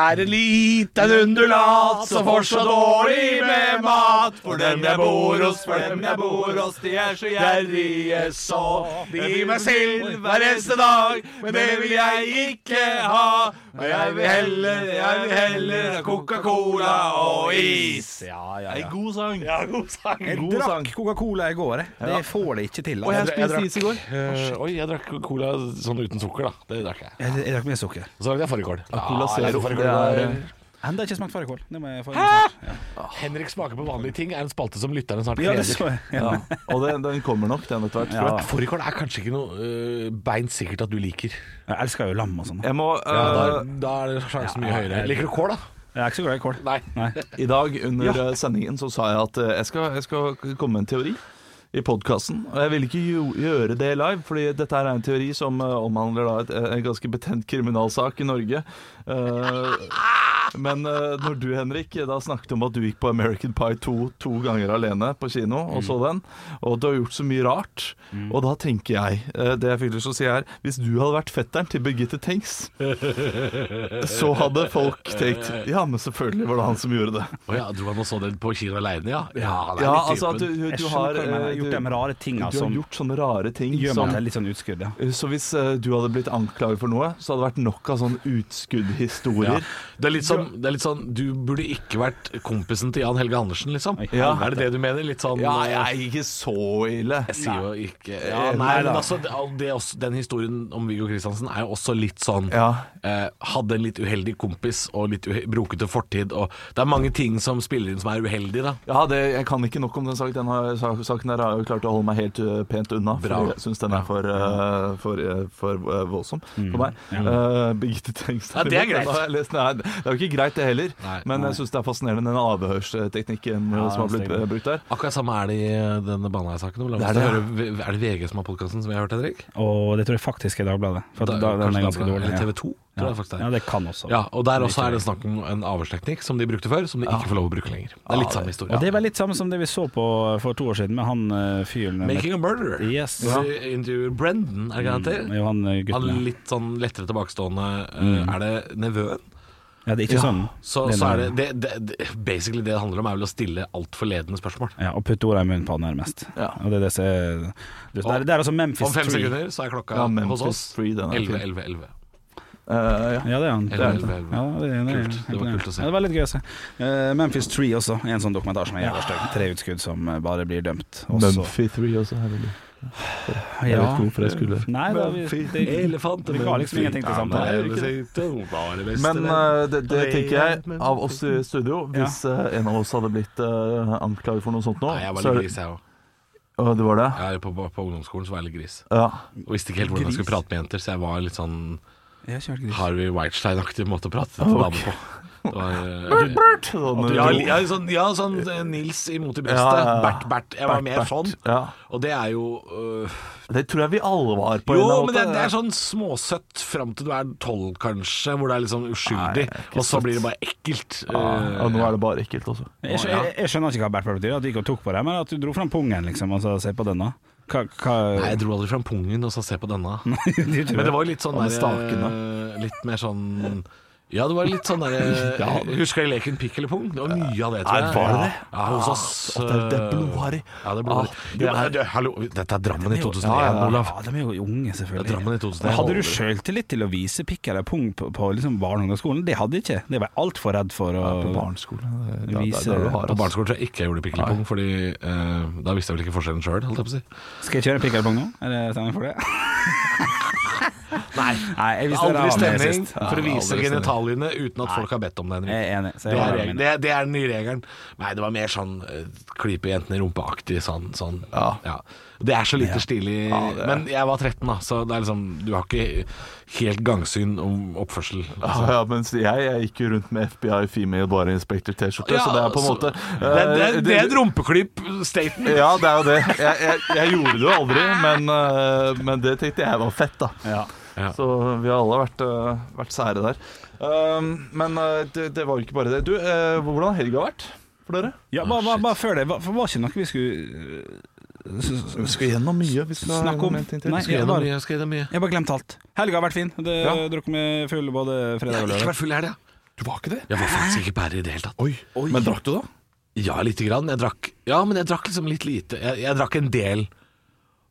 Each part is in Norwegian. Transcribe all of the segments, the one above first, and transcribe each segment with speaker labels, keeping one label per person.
Speaker 1: Er en liten undulat som får så dårlig med mat. For dem jeg bor hos, for dem jeg bor hos, de er så gjerrige så. De gir meg sild hver eneste dag, men det vil jeg ikke ha. Og jeg vil heller, jeg vil heller ha Coca-Cola og is.
Speaker 2: Ja, ja,
Speaker 1: En
Speaker 2: ja.
Speaker 1: god sang. Ja, god sang.
Speaker 2: Jeg
Speaker 1: God sang.
Speaker 2: drakk Coca-Cola i går. jeg. Det får det ikke til.
Speaker 1: Og jeg
Speaker 2: altså. Jeg,
Speaker 1: spiste
Speaker 2: drakk-
Speaker 1: is i går.
Speaker 3: Eh, Oi, jeg drakk cola sånn uten sukker, da. Det drakk jeg.
Speaker 2: jeg, jeg drakk mye sukker.
Speaker 3: Og så lagde jeg fårikål.
Speaker 1: Cola
Speaker 3: Ah,
Speaker 1: Zero,
Speaker 3: jeg tror fårikål
Speaker 1: det er-
Speaker 3: var-
Speaker 2: Enda ikke smakt fårikål. Det må jeg få snart.
Speaker 3: Henrik smaker på vanlige ting er en spalte som lytterne snart
Speaker 2: Ja, det
Speaker 3: gleder.
Speaker 2: så jeg.
Speaker 1: Ja. Og den, den kommer nok, den etter hvert. tror jeg.
Speaker 2: Ja.
Speaker 3: Fårikål er kanskje ikke noe øh, beint sikkert at du liker.
Speaker 2: Jeg elsker jo lam og sånn.
Speaker 1: Jeg må eh,
Speaker 3: Ja, da, er- da er sjansen mye høyere. Liker du kål, da?
Speaker 2: Jeg er ikke så glad i kål.
Speaker 3: Nei.
Speaker 1: I dag under eh, sendingen så sa jeg at eh, jeg skal, jeg skal komme med en teori i podkasten. Og jeg ville ikke jo, gjøre det live, fordi dette her er en teori som eh, omhandler da et, eh, en ganske betent kriminalsak i Norge. Eh, men eh, når du, Henrik, da snakket om at du gikk på American Pie 2 to ganger alene på kino og så den, og du har gjort så mye rart, og da tenker jeg eh, Det jeg fikk lyst til å si er Hvis du hadde vært fetteren til Birgitte Tengs, så hadde folk tenkt Ja, men selvfølgelig var det han som gjorde det.
Speaker 3: Å ja, dro han og så den på kino aleine, ja? Ja, han er
Speaker 1: Ja,
Speaker 3: litt
Speaker 1: altså at du,
Speaker 3: typen.
Speaker 1: du
Speaker 2: Jeg
Speaker 1: har
Speaker 2: skjønner hva du mener.
Speaker 1: eh,
Speaker 2: Gjort
Speaker 1: du-
Speaker 2: de rare tinga
Speaker 1: Du har
Speaker 2: som
Speaker 1: gjort sånne rare ting
Speaker 2: gjør
Speaker 1: som
Speaker 2: meg til litt sånn utskudd, ja.
Speaker 1: så hvis eh, du hadde blitt anklaget for noe, så hadde det vært nok av sånne
Speaker 3: Ja.
Speaker 1: utskuddhistorier.
Speaker 3: Det, er litt sånn, det er litt sånn Du burde ikke vært kompisen til Jan Helge Andersen, liksom.
Speaker 1: Ja.
Speaker 3: Er det det du mener? Litt sånn
Speaker 1: Ja,
Speaker 3: øh,
Speaker 1: jeg er ikke så ille.
Speaker 3: Jeg sier jo ikke ja, Nei, men altså det, det er også, Den historien om Viggo Kristiansen er jo også litt sånn
Speaker 1: Ja.
Speaker 3: eh, Hadde en litt uheldig kompis og litt uhe- brokete fortid. Og det er mange ting som spiller inn som er uheldige, da.
Speaker 1: Ja, det, jeg kan ikke nok om den saken. Den har, sa- saken der har jeg jo klart å holde meg helt eh, pent unna.
Speaker 3: Bra.
Speaker 1: Fordi jeg syns den er for, eh, for, eh, for eh, voldsom
Speaker 2: Mm.
Speaker 1: for meg. Eh, Birgitte Tengstad
Speaker 3: Ja, det er greit.
Speaker 1: Da har jeg lest- Nei, det er jo ikke greit, det heller.
Speaker 3: Nei.
Speaker 1: Men jeg syns det er fascinerende den avhørsteknikken eh, som har blitt eh, brukt der.
Speaker 3: Akkurat samme er det i eh, denne Baneheia-saken. Olav.
Speaker 1: Det er det, ja.
Speaker 3: Høre, er det VG som har podkasten som vi har hørt, Henrik?
Speaker 2: Og det tror jeg faktisk er Dagbladet. For at da, den
Speaker 3: kanskje
Speaker 2: er ganske
Speaker 3: Dagbladet.
Speaker 2: dårlig.
Speaker 3: Eller
Speaker 2: ja.
Speaker 3: TV 2, tror jeg faktisk det
Speaker 2: Ja,
Speaker 3: er.
Speaker 2: det kan også.
Speaker 3: Ja, og Der også er det snakk om en avhørsteknikk som de brukte før, som de ikke får lov å bruke lenger. Det er litt samme historie.
Speaker 2: Og det er vel litt samme som det vi så på for to år siden med han eh, fyren
Speaker 3: Making a murderer.
Speaker 2: Yes.
Speaker 3: Så Intervjuer Brendan, er det ikke han heter?
Speaker 2: Jo, han eh,
Speaker 3: Han
Speaker 2: gutten. ja. Mm.
Speaker 3: litt sånn lettere tilbakestående eh, Er det nevøen?
Speaker 2: Ja, det er ikke sånn.
Speaker 3: Så,
Speaker 2: Det er
Speaker 3: så er det,
Speaker 2: nevøen.
Speaker 3: det, det, det Basically det det handler om, er vel å stille altfor ledende spørsmål.
Speaker 2: Ja, og putte orda i munnen på han nærmest.
Speaker 1: Ja.
Speaker 2: Og det er det som er Det er, det er altså Memphis
Speaker 3: Om fem
Speaker 2: Three.
Speaker 3: sekunder så er klokka
Speaker 1: Ja, Memphis
Speaker 3: hos oss
Speaker 1: Free, den er
Speaker 3: 11,
Speaker 1: fin.
Speaker 3: 11, 11.
Speaker 1: Eh, ja.
Speaker 2: Ja, det er han.
Speaker 3: Elleve, elleve, elleve.
Speaker 2: Ja, det, er-
Speaker 3: Kult.
Speaker 2: er-
Speaker 3: Det var kult å se.
Speaker 2: Ja, det var litt gøy å se. Eh, Memphis Tree også, en sånn dokumentar som er jævla stygg. Tre utskudd som eh, bare blir dømt. Også.
Speaker 1: Mumphy 3 også er veldig Jeg vet
Speaker 2: Ja.
Speaker 1: ikke hvorfor jeg skulle
Speaker 2: Nei, da, vi,
Speaker 1: Memphis.
Speaker 2: det,
Speaker 3: Elefanten
Speaker 2: Det ga liksom ingenting til samtalen.
Speaker 1: Men eh, det, det tenker jeg av oss i studio
Speaker 2: Ja.
Speaker 1: Hvis eh, en av oss hadde blitt eh, anklaget for noe sånt nå
Speaker 3: Nei, jeg var
Speaker 1: så er
Speaker 3: litt
Speaker 1: det-
Speaker 3: gris, jeg òg.
Speaker 1: Å, det var det?
Speaker 3: På, på, på ungdomsskolen så var jeg litt gris.
Speaker 1: Ja.
Speaker 3: Og visste ikke helt hvordan jeg skulle prate med jenter, så jeg var litt sånn
Speaker 2: jeg har ikke hørt gris.
Speaker 3: Harvey Whitestein-aktig måte å prate til damer på. Det var, eh,
Speaker 1: Sånn,
Speaker 3: Ja, ja, sånn, ja, sånn eh, Nils imot i brystet.
Speaker 1: Ja, ja, ja.
Speaker 3: Bert, Bert. Jeg var
Speaker 1: Bert,
Speaker 3: mer
Speaker 1: Bert.
Speaker 3: sånn.
Speaker 1: Ja.
Speaker 3: Og det er jo øh,
Speaker 1: Det tror jeg vi alle var på en
Speaker 3: Jo,
Speaker 1: eller annen
Speaker 3: men det, det er
Speaker 1: måte.
Speaker 3: sånn småsøtt fram til du er tolv, kanskje, hvor det er litt sånn uskyldig. og så blir det bare ekkelt. eh,
Speaker 1: Ja, nå er det bare ekkelt også
Speaker 2: Jeg, skjø- jeg, jeg skjønner ikke hva Bert Bert betyr, at du gikk og tok på det, men at du dro fram pungen, liksom, og sa se på denne. Hva, hva
Speaker 3: Nei, jeg dro aldri fram pungen og så se på denne.
Speaker 2: du tror
Speaker 3: Men det var jo litt sånn
Speaker 1: Hva med
Speaker 3: der,
Speaker 1: staken,
Speaker 3: eh, Litt mer sånn ja, det var litt sånn der
Speaker 1: Ja.
Speaker 3: Husker jeg leken pikk eller pung? Det var mye av det, tror
Speaker 1: Nei,
Speaker 3: jeg.
Speaker 1: var det det?
Speaker 3: Ja, hos oss. eh,
Speaker 1: Å, det er- det er blodharry.
Speaker 3: Ja, det er blodharry.
Speaker 1: Ah,
Speaker 3: Jo,
Speaker 1: det er-
Speaker 3: men, du, hallo, dette er Drammen i 2001, Olav.
Speaker 2: Ja, de er jo unge,
Speaker 3: Det er Drammen
Speaker 2: selvfølgelig.
Speaker 3: i 2001.
Speaker 2: Hadde du sjøltillit til å vise pikk eller pung på, på liksom barne- og ungdomsskolen? Det hadde jeg ikke. Det var jeg altfor redd for. Å...
Speaker 1: På barneskolen det er- Eh, det er-
Speaker 2: Vise-
Speaker 1: det er det du har,
Speaker 3: På
Speaker 1: altså.
Speaker 3: barneskolen tror jeg ikke jeg gjorde pikkelepung, Fordi eh, da visste jeg vel ikke forskjellen sjøl, holdt jeg på å si.
Speaker 2: Skal jeg kjøre pikk eller pung nå? Er det stemning for det? Nei. Nei jeg visste det
Speaker 3: Aldri
Speaker 2: var med
Speaker 3: stemning
Speaker 2: sist.
Speaker 3: for å
Speaker 2: Ja,
Speaker 3: vise
Speaker 2: aldri stemning.
Speaker 3: genitaliene uten at folk har bedt om det. Henrik.
Speaker 2: Jeg er enig. Så
Speaker 3: Det
Speaker 2: jeg
Speaker 3: er,
Speaker 2: var
Speaker 3: regel-
Speaker 2: med.
Speaker 3: det, er- det er den nye regelen. Nei, det var mer sånn eh, klype jentene i rumpa-aktig. Sånn, sånn.
Speaker 1: Ja.
Speaker 3: Det er så lite stilig. Men jeg var 13, da, så det er liksom, du har ikke helt gangsyn om oppførsel.
Speaker 1: Ja, ja, mens jeg, jeg gikk jo rundt med FBI Female Bare Inspector T-skjorte, så det er på en
Speaker 3: så-
Speaker 1: måte
Speaker 3: Det, er- det, er-
Speaker 1: eh,
Speaker 3: det er et rumpeklyp-statement.
Speaker 1: Ja, det er jo det. Jeg, jeg, jeg gjorde det jo aldri, men, eh, men det tenkte jeg var fett, da.
Speaker 2: Ja.
Speaker 3: Ja.
Speaker 1: Så vi har alle vært, eh, vært sære der. Um, men eh, det, det var jo ikke bare det. Du, eh, hvordan har helga vært for dere?
Speaker 2: Ja, bare, bare, bare før det, var, for var ikke noe vi skulle øh,
Speaker 1: Vi skal gjennom mye. Vi skal
Speaker 2: Snakk om-
Speaker 1: en ting til.
Speaker 2: Nei,
Speaker 3: Skal
Speaker 2: jeg
Speaker 3: gjennom
Speaker 2: bare-
Speaker 3: mye, skal gjennom mye.
Speaker 2: Jeg har bare glemt alt. Helga har vært fin. Det, Drukket med full både fredag og
Speaker 3: Jeg har ikke
Speaker 2: lørdag.
Speaker 3: vært full i helga.
Speaker 1: Du var ikke det?
Speaker 3: Jeg var faktisk ikke pære i det hele tatt.
Speaker 1: Oi. Men drakk du, da?
Speaker 3: Ja, lite grann. Jeg drakk, ja, men jeg drakk liksom litt lite. Jeg, jeg drakk en del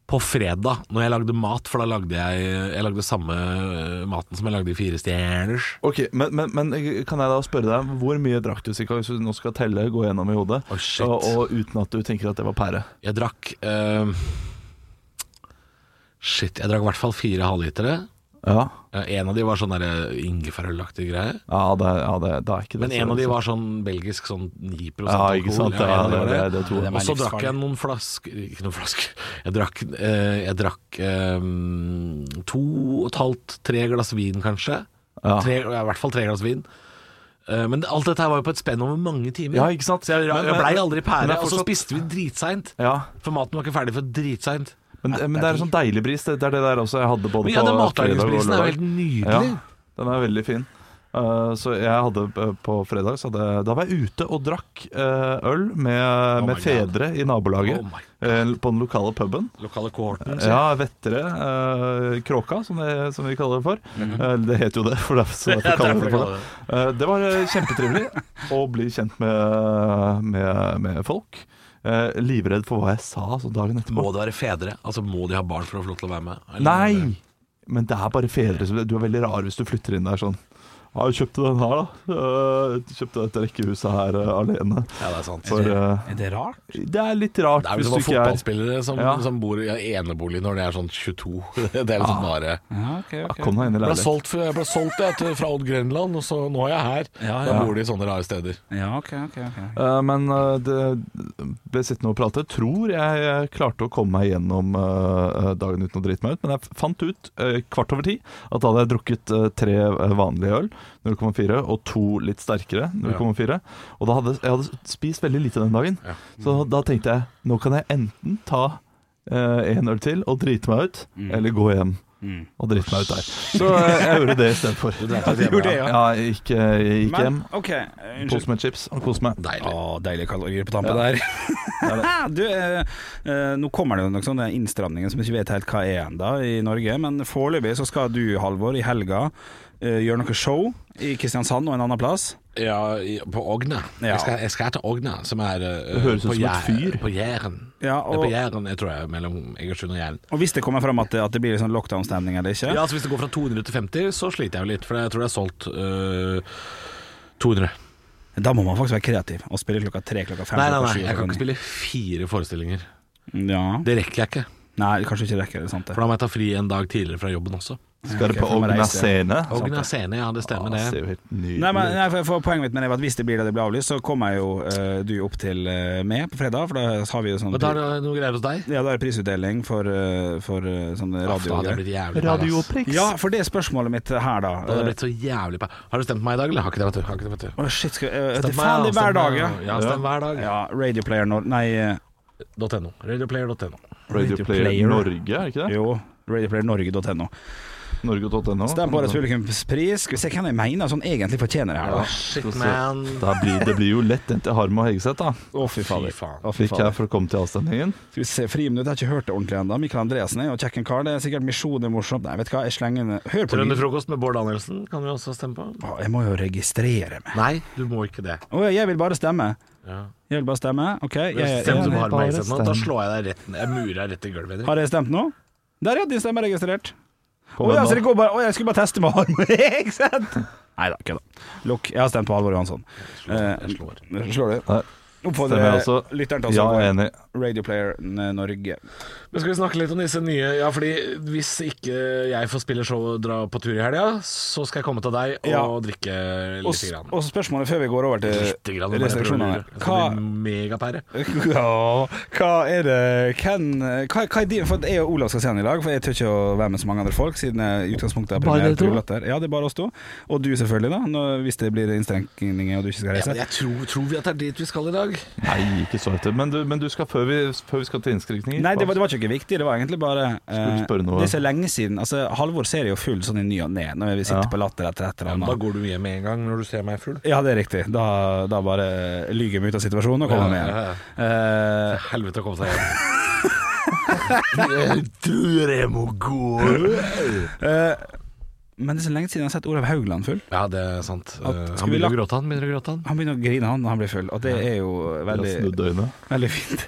Speaker 3: på fredag når jeg lagde mat, for da lagde jeg, jeg lagde samme eh, maten som jeg lagde i Fire stjerners.
Speaker 1: Ok, men, men, men eh, kan jeg da spørre deg, hvor mye drakk du, Sika, hvis du nå skal telle, gå gjennom i hodet,
Speaker 3: Oi, shit.
Speaker 1: og, og uten at du tenker at det var pære?
Speaker 3: Jeg drakk eh, Shit, jeg drakk i hvert fall fire halvlitere.
Speaker 1: Ja,
Speaker 3: Eh, En av de var sånn der ingefærølaktig greie.
Speaker 1: ja, det, ja det, da er ikke det
Speaker 3: Men en av de var sånn belgisk, sånn 9
Speaker 1: Ja, ikke sant. Ja,
Speaker 3: alkohol. en av de
Speaker 1: det,
Speaker 3: var
Speaker 1: det,
Speaker 3: det.
Speaker 1: det, tror jeg.
Speaker 2: Den er
Speaker 3: Og så drakk
Speaker 2: livsfarlig.
Speaker 3: jeg noen flasker Ikke noen flasker. Jeg drakk, eh, jeg drakk eh, to og et halvt, tre glass vin kanskje.
Speaker 1: Ja.
Speaker 3: Tre, ja, I hvert fall tre glass vin. Eh, Men alt dette her var jo på et spenn over mange timer.
Speaker 1: Ja, ikke sant?
Speaker 3: Så jeg,
Speaker 1: Men-
Speaker 3: jeg blei
Speaker 1: men-
Speaker 3: aldri
Speaker 1: men det
Speaker 3: pære,
Speaker 1: er
Speaker 3: og så
Speaker 1: fortsatt-
Speaker 3: spiste vi dritseint.
Speaker 1: Ja,
Speaker 3: For maten var ikke ferdig før dritseint.
Speaker 1: men, men det er en sånn deilig bris. Det, det er det der også jeg hadde både
Speaker 3: Men ja, den
Speaker 1: på fredag og
Speaker 3: matlagingsprisen er jo
Speaker 1: lørdag.
Speaker 3: helt nydelig.
Speaker 1: Ja, den er veldig fin. Eh, så jeg hadde eh, på fredag så hadde, Da var jeg ute og drakk eh, øl med,
Speaker 3: Oh my
Speaker 1: med
Speaker 3: God.
Speaker 1: fedre i nabolaget.
Speaker 3: Oh my
Speaker 1: eh, på den lokale puben.
Speaker 3: Lokale kohorten.
Speaker 1: Ja, Vettere. eh, kråka, som, det, som vi kaller det for.
Speaker 3: Mhm.
Speaker 1: Eh, det heter jo det, for det er så derfor kaller vi det for det. Eh, det var eh, kjempetrivelig å bli kjent med, med, med folk. Eh, livredd for hva jeg sa altså, dagen
Speaker 3: Må
Speaker 1: etterpå.
Speaker 3: det være fedre? Altså Må de ha barn for å få lov til å være med? Eller-
Speaker 1: Nei! Men det er bare fedre som Du er veldig rar hvis du flytter inn der sånn. Ja, jeg kjøpte den her, da. Eh, kjøpte dette rekkehuset her eh, alene.
Speaker 3: Ja, det er sant.
Speaker 1: For eh,
Speaker 2: Er det rart?
Speaker 1: det er litt rart
Speaker 3: det er jo
Speaker 1: hvis du
Speaker 3: som om
Speaker 1: ikke er
Speaker 3: fotballspillere som,
Speaker 1: Ja.
Speaker 3: som bor i enebolig når de er sånn 22. Det er
Speaker 1: Ah,
Speaker 3: liksom bare
Speaker 2: Ja, ok,
Speaker 1: ja,
Speaker 2: ok.
Speaker 1: Kom deg inn i
Speaker 3: Jeg ble
Speaker 1: leiligheten.
Speaker 3: solgt, jeg ble solgt jeg, til, fra Odd Grenland, og så nå er jeg her.
Speaker 2: Ja,
Speaker 3: Da
Speaker 2: ja.
Speaker 3: bor de i sånne rare steder.
Speaker 2: Ja, ok, ok, ok.
Speaker 1: Eh, Men eh, det ble sittende og prate. Tror jeg eh, klarte å komme meg gjennom eh, dagen uten å drite meg ut, men jeg fant ut eh, kvart over ti at da hadde jeg drukket eh, tre eh, vanlige øl, 0,4, og to litt sterkere, 0,4. Og da hadde jeg hadde spist veldig lite den dagen,
Speaker 3: Ja.
Speaker 1: så da tenkte jeg nå kan jeg enten ta én øl til og drite meg ut, eller gå hjem.
Speaker 2: Mm.
Speaker 1: Og drite meg ut der. Så eh, jeg gjorde det istedenfor.
Speaker 2: Gjorde det, ja.
Speaker 1: Ja, jeg gikk, eh, jeg gikk hjem,
Speaker 2: Men, ok, unnskyld.
Speaker 1: kos meg med chips og kos meg.
Speaker 3: Deilig.
Speaker 2: Å, deilige kalorier på tampen der. du, eh, eh, nå kommer det jo nok sånne innstramninger som jeg ikke vet helt hva er ennå i Norge, men foreløpig så skal du, Halvor, i helga eh, gjøre noe show i Kristiansand og en annen plass.
Speaker 3: Ja, i- på Ogna.
Speaker 2: Ja.
Speaker 3: Jeg, skal, jeg skal til Ogna, som er eh,
Speaker 1: Det høres ut
Speaker 3: på
Speaker 1: som et
Speaker 3: Jæ-
Speaker 1: fyr.
Speaker 3: På Jæren.
Speaker 2: Ja, Eh,
Speaker 3: Det er
Speaker 2: og,
Speaker 3: på Jæren, jeg tror jeg, mellom Egersund og Jæren.
Speaker 2: og hvis det kommer fram at det, at det blir litt sånn lockdown-stemning eller ikke,
Speaker 3: Ja, altså Hvis det går fra 200 til 50, så sliter jeg jo litt. For jeg tror det er solgt øh, 200.
Speaker 2: da må man faktisk være kreativ og spille klokka tre, klokka fem,
Speaker 3: Nei, nei,
Speaker 2: klokka
Speaker 3: nei,
Speaker 2: sju,
Speaker 3: jeg kan
Speaker 2: klokka
Speaker 3: ikke spille fire forestillinger.
Speaker 2: ni. Ja.
Speaker 3: Det rekker jeg ikke.
Speaker 2: Nei, kanskje ikke rekker det, sant det.
Speaker 3: For da må jeg ta fri en dag tidligere fra jobben også.
Speaker 1: Skal
Speaker 2: Ok,
Speaker 1: det på
Speaker 2: for meg
Speaker 1: Ogna
Speaker 2: reiser jeg.
Speaker 1: scene?
Speaker 3: Ogna scene, ja, det stemmer
Speaker 1: Ah,
Speaker 3: det.
Speaker 1: ser jo helt nydelig
Speaker 2: Nei, men, nei, for, for Poenget mitt med det var at hvis det blir det det blir avlyst, så kommer jo eh, du opp til eh, meg på fredag. For da har vi jo sånn
Speaker 3: Men da er det noe greier hos deg?
Speaker 2: Ja, da er det prisutdeling for, eh, for eh, sånn
Speaker 3: Uff, Da hadde jeg
Speaker 2: radio.
Speaker 3: blitt jævlig
Speaker 1: ut.
Speaker 3: pære, ass.
Speaker 1: Radio Prix.
Speaker 2: Ja, for det er spørsmålet mitt her, da. Eh,
Speaker 3: Da hadde jeg blitt så jævlig pære. Har du stemt meg i dag, eller? Har ikke det, vet du. Har ikke det, vet du.
Speaker 2: Å, shit, skal jeg
Speaker 3: Stem
Speaker 2: Det er
Speaker 3: meg,
Speaker 2: faen, det er
Speaker 3: stem
Speaker 2: hver dag,
Speaker 3: meg,
Speaker 2: ja.
Speaker 3: Ja, stem hver dag.
Speaker 2: Ja, Radioplayer Nor... Nei, eh,
Speaker 3: .no. Radioplayer.no.
Speaker 1: Radio
Speaker 2: Radio
Speaker 1: Player
Speaker 2: Player.
Speaker 1: Norge, er ikke det?
Speaker 2: jo. Radioplayer.norge.no.
Speaker 1: Norge.no.
Speaker 2: Stem på Årets publikumspris. Skal vi se hvem jeg mener sånn egentlig fortjener det her, da.
Speaker 3: Shit,
Speaker 1: Skal se.
Speaker 3: man.
Speaker 1: Da blir, det blir jo lett en til Harm og Hegeseth, da.
Speaker 2: Å, fy fader.
Speaker 3: faen.
Speaker 2: Å, fy
Speaker 1: Fikk her
Speaker 2: fader.
Speaker 1: for å komme til avstemningen.
Speaker 2: Skal vi se, Friminutt jeg har ikke hørt det ordentlig ennå. Michael Andresen er jo kjekken kar. Det er sikkert Misjon er morsomt. Nei, vet du hva, jeg slenger en Hør på lyd.
Speaker 3: Trønderfrokost med Bård Danielsen kan vi også stemme på.
Speaker 2: Å, Jeg må jo registrere meg.
Speaker 3: Nei, du må ikke det.
Speaker 2: Å, jeg vil bare stemme.
Speaker 3: Ja.
Speaker 2: Jeg vil bare stemme. OK. Jeg, jeg,
Speaker 3: Stem som
Speaker 1: det er
Speaker 3: har
Speaker 1: bare
Speaker 3: meg sett nå. Da
Speaker 1: stem.
Speaker 3: slår jeg deg rett ned. Jeg murer deg rett i gulvet. Henrik.
Speaker 2: har jeg stemt nå? Der, ja. Din stemme er registrert. Å
Speaker 1: Kom
Speaker 2: ja,
Speaker 1: igjen
Speaker 2: så det
Speaker 1: nå.
Speaker 2: går bare Å, jeg skulle bare teste med arm Ikke sant? Nei da, kødda. Lukk. Jeg har stemt på Halvor Johansson.
Speaker 3: Jeg slår.
Speaker 2: Eh, slår du?
Speaker 1: Nei. Stemmer jeg også?
Speaker 2: Oppfordrer lytteren til å
Speaker 1: Ja, jeg er
Speaker 2: stemme
Speaker 1: enig.
Speaker 2: på Radioplayer Norge.
Speaker 3: Men skal vi snakke litt om disse nye Ja, fordi hvis ikke jeg får spille show og dra på tur i helga, så skal jeg komme til deg og
Speaker 2: Ja.
Speaker 3: drikke
Speaker 2: Og,
Speaker 3: lite grann.
Speaker 2: og spørsmålet før vi går over
Speaker 1: Eh,
Speaker 3: Lite
Speaker 2: til
Speaker 3: grann. bare prøver å lure. Altså,
Speaker 2: restriksjonene.
Speaker 3: Jeg
Speaker 2: Hva,
Speaker 3: skal bli megapære.
Speaker 2: ja, hva er det Hvem hva, hva er din For jeg og Olav skal se han i dag, for jeg tør ikke å være med så mange andre folk, siden jeg i utgangspunktet er
Speaker 1: Bare dere
Speaker 2: premiere
Speaker 1: to?
Speaker 2: på Julelatter. Ja, det er bare oss to. Og du selvfølgelig, da, når, hvis det blir innstrengninger og du ikke skal
Speaker 3: Ja,
Speaker 2: reise.
Speaker 3: men jeg tror, tror vi at det er dit vi skal i dag.
Speaker 1: Nei, ikke så etter. Men du, men du skal før vi, før vi skal til innskrenkninger
Speaker 2: Nei, det var, det var ikke noe viktig. Det var egentlig bare
Speaker 1: Skulle
Speaker 2: eh,
Speaker 1: du spørre noe?
Speaker 2: Det er så lenge siden. Altså, Halvor ser jo full sånn i ny og ne når vi sitter
Speaker 1: Ja.
Speaker 2: på Latter etter et eller
Speaker 3: Da
Speaker 2: annet.
Speaker 3: går du hjem med en gang når du ser meg full.
Speaker 2: Ja, det er riktig. Da, da bare lyger vi ut av situasjonen og kommer
Speaker 3: Ja,
Speaker 2: med
Speaker 3: ja,
Speaker 2: igjen. Eh,
Speaker 3: Helvete å komme seg hjem. Jeg tror jeg må gå.
Speaker 2: Eh, men det er så lenge siden jeg har sett Olav Haugland full.
Speaker 3: Ja, det er sant.
Speaker 2: At-
Speaker 3: Eh,
Speaker 2: skal
Speaker 3: han
Speaker 2: vi
Speaker 3: begynner
Speaker 2: la-
Speaker 3: å gråte, han. begynner å gråte han
Speaker 2: Han begynner å grine han når han blir full, og det er jo veldig,
Speaker 1: Snudd øynene.
Speaker 2: veldig fint.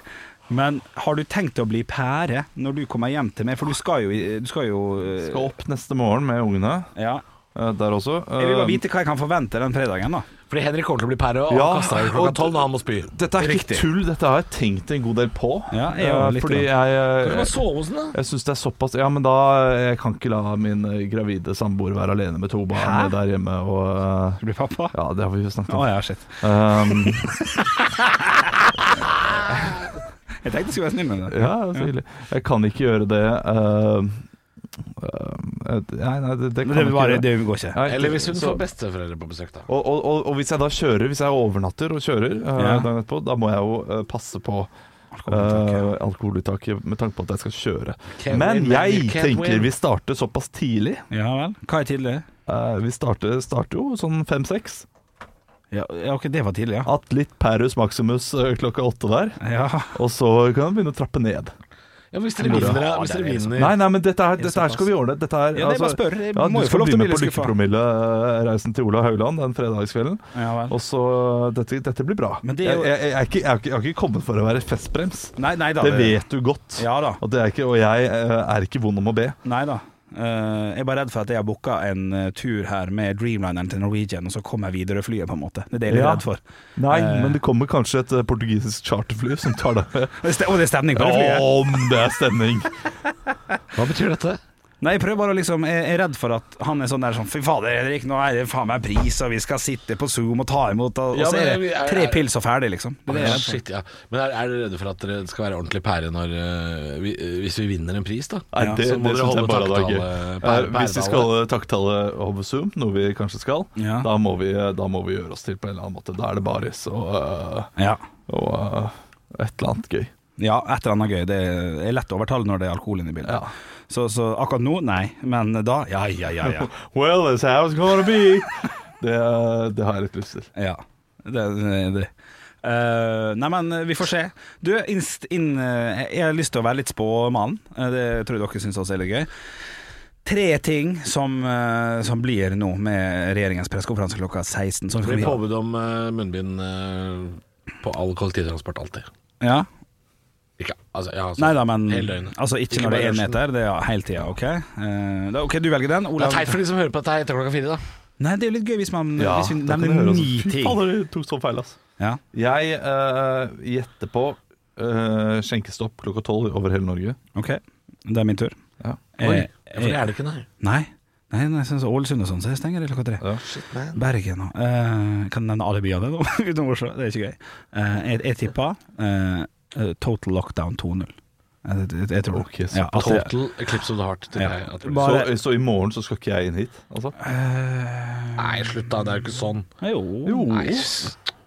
Speaker 2: Men har du tenkt å bli pære når du kommer hjem til meg? For du skal jo, du skal jo eh,
Speaker 1: Skal opp neste morgen med ungene
Speaker 2: ja.
Speaker 1: eh, der også.
Speaker 2: Jeg vil
Speaker 1: Eh,
Speaker 2: bare vite hva jeg kan forvente den fredagen, da.
Speaker 3: Fordi Henrik kommer til å bli pære, og
Speaker 1: Ja,
Speaker 3: han kaster deg
Speaker 1: og-
Speaker 3: klokka tolv når han må spy.
Speaker 1: Dette er ikke
Speaker 2: Riktig.
Speaker 1: tull, dette har jeg tenkt en god del på.
Speaker 2: Ja, jeg er jo
Speaker 1: Eh,
Speaker 2: litt
Speaker 1: fordi jeg,
Speaker 3: Kan du
Speaker 1: eh,
Speaker 3: bare sove hos den, da?
Speaker 1: jeg syns det er såpass Ja, men da eh, Jeg kan ikke la min eh, gravide samboer være alene med to barn
Speaker 2: Hæ?
Speaker 1: der hjemme og eh,
Speaker 2: Du blir pappa?
Speaker 1: Ja, det har vi jo snakket
Speaker 2: Å
Speaker 1: om.
Speaker 2: ja, shit.
Speaker 1: Um,
Speaker 2: Jeg tenkte jeg skulle være snill med deg.
Speaker 1: ja, så hyggelig. Jeg kan ikke gjøre det eh, eh, Nei, nei, det, det kan jeg
Speaker 2: Det,
Speaker 1: ikke
Speaker 2: bare,
Speaker 1: gjøre.
Speaker 2: det går ikke.
Speaker 1: Nei,
Speaker 3: Eller hvis hun
Speaker 1: så-
Speaker 3: får besteforeldre på besøk, da.
Speaker 1: Og, og, og, og hvis jeg da kjører, hvis jeg overnatter og kjører eh,
Speaker 2: Ja.
Speaker 1: dagen etterpå, da må jeg jo eh, passe på
Speaker 2: Alkoholinntaket.
Speaker 1: eh, alkoholuttaket med tanke på at jeg skal kjøre.
Speaker 3: Can't
Speaker 1: Men
Speaker 3: win, man,
Speaker 1: jeg
Speaker 3: you can't
Speaker 1: tenker
Speaker 3: win.
Speaker 1: vi starter såpass tidlig.
Speaker 2: Ja vel. Hva er tidlig?
Speaker 1: Eh, vi starter, starter jo sånn fem-seks.
Speaker 2: Ja, ja, ok, det var tidlig, ja.
Speaker 1: At litt Perus Maximus eh, klokka åtte der.
Speaker 2: ja.
Speaker 1: Og så kan vi begynne å trappe ned.
Speaker 3: Ja, hvis dere vinner, da. Hvis dere vinner
Speaker 1: Nei, nei, men dette her, dette her skal vi ordne. Dette her, altså,
Speaker 2: altså, Ja, nei, bare spør. Jeg
Speaker 1: ja, du
Speaker 2: må jo få
Speaker 1: skal
Speaker 2: lov til å
Speaker 1: begynne
Speaker 2: bli
Speaker 1: på
Speaker 2: skuffa.
Speaker 1: lykkepromillereisen til Ola Haugland den fredagskvelden.
Speaker 2: Ja vel.
Speaker 1: Og så dette, dette blir bra.
Speaker 2: Men det er jo-
Speaker 1: jeg, jeg, jeg, er ikke, jeg, er ikke, jeg har ikke kommet for å være festbrems.
Speaker 2: Nei, nei da.
Speaker 1: Det vet du godt.
Speaker 2: Ja da.
Speaker 1: At det er ikke, og jeg eh, er ikke vond om å be.
Speaker 2: Nei da. Eh, jeg er bare redd for at jeg har booka en eh, tur her med Dreamlineren til Norwegian, og så kommer Widerøe-flyet, på en måte. Det er det jeg er litt
Speaker 1: Ja.
Speaker 2: redd for.
Speaker 1: Nei,
Speaker 2: Eh.
Speaker 1: men det kommer kanskje et eh, portugisisk charterfly som tar deg med.
Speaker 2: Og det er ste- og det er stemning på det flyet.
Speaker 1: Om det er stemning!
Speaker 3: Hva betyr dette?
Speaker 2: Nei, jeg prøver bare å liksom Jeg jeg er redd for at han er sånn der sånn Fy fader, Henrik, nå er det faen meg pris, og vi skal sitte på Zoom og ta imot, og,
Speaker 3: Ja,
Speaker 2: og så
Speaker 3: men
Speaker 2: er
Speaker 3: vi
Speaker 2: det
Speaker 3: er-
Speaker 2: tre pils og ferdig, liksom. Det er det jeg er redd for.
Speaker 3: Shit, ja. Men er, er dere redde for at dere skal være ordentlig pære når, eh, vi, eh, hvis vi vinner en pris, da?
Speaker 1: Nei,
Speaker 2: Ja,
Speaker 1: det,
Speaker 3: så må
Speaker 1: det
Speaker 3: dere
Speaker 1: syns jeg
Speaker 3: holde
Speaker 1: bare hadde vært gøy.
Speaker 3: takktale-
Speaker 1: Eh,
Speaker 3: pære-
Speaker 1: Hvis vi
Speaker 3: pæretale.
Speaker 1: skal eh, takttale over Zoom, noe vi kanskje skal,
Speaker 2: Ja.
Speaker 1: da, må vi, eh, da må vi gjøre oss til på en eller annen måte. Da er det baris og, eh,
Speaker 2: Ja.
Speaker 1: og eh, et eller annet gøy.
Speaker 2: ja, et eller annet gøy. Det er lett å overtale når det er alkohol inne i bildet.
Speaker 1: Ja.
Speaker 2: Så, så akkurat nå, nei. Men da, ja, ja, ja. ja.
Speaker 1: Well, that's how it's gonna be! Det, eh, det har jeg litt lyst til.
Speaker 2: Ja, det er det. Eh, nei, men eh, vi får se. Du, inst, inn, eh, jeg har lyst til å være litt spåmann. Eh, det tror jeg dere syns også er litt gøy. Tre ting som, eh, som blir nå med regjeringens pressekonferanse klokka 16. Som
Speaker 3: Det blir
Speaker 2: vi,
Speaker 3: påbud om eh, munnbind eh, på all kollektivtransport alltid.
Speaker 2: ja?
Speaker 3: Ikke, altså, ja, altså,
Speaker 2: Nei da, men
Speaker 3: hele døgnet.
Speaker 2: altså, ikke,
Speaker 3: Ikke
Speaker 2: når det er
Speaker 3: bare
Speaker 2: én
Speaker 3: rushen.
Speaker 2: meter. Det er hele tida, OK? Eh, da, ok, du velger den.
Speaker 3: Det
Speaker 2: Olav.
Speaker 3: er teit for de som hører på dette her etter klokka fire, da.
Speaker 2: Nei, det er jo litt gøy hvis man hvis vi
Speaker 1: da kan du
Speaker 2: nevner
Speaker 1: høre, altså.
Speaker 2: ni
Speaker 1: Fy
Speaker 2: ting.
Speaker 1: fader, du tok så feil, ass.
Speaker 2: Ja.
Speaker 1: Jeg eh, gjetter på eh, skjenkestopp klokka tolv over hele Norge.
Speaker 2: OK, det er min tur.
Speaker 1: Ja.
Speaker 3: Oi,
Speaker 2: Eh,
Speaker 3: for det er det ikke, nei.
Speaker 2: Nei. Nei, nei sånn som Ålesund og sånn, så jeg stenger det klokka tre.
Speaker 1: Ja.
Speaker 2: Bergen og eh, Kan nevne alle byene nå, utenom Oslo. Det er ikke gøy. Eh, jeg jeg tippa eh, eh, Total Lockdown 2.0. Jeg, jeg, jeg tror det.
Speaker 1: Ok, så
Speaker 2: ja, altså, at det-
Speaker 3: Total eclipse of the heart. tenker
Speaker 2: Ja.
Speaker 3: jeg at det blir.
Speaker 2: Bare-
Speaker 1: Så, så i morgen så skal ikke jeg inn hit, altså?
Speaker 2: Eh,
Speaker 3: Nei, slutt da, det er jo ikke sånn.
Speaker 2: jo,
Speaker 3: Nei.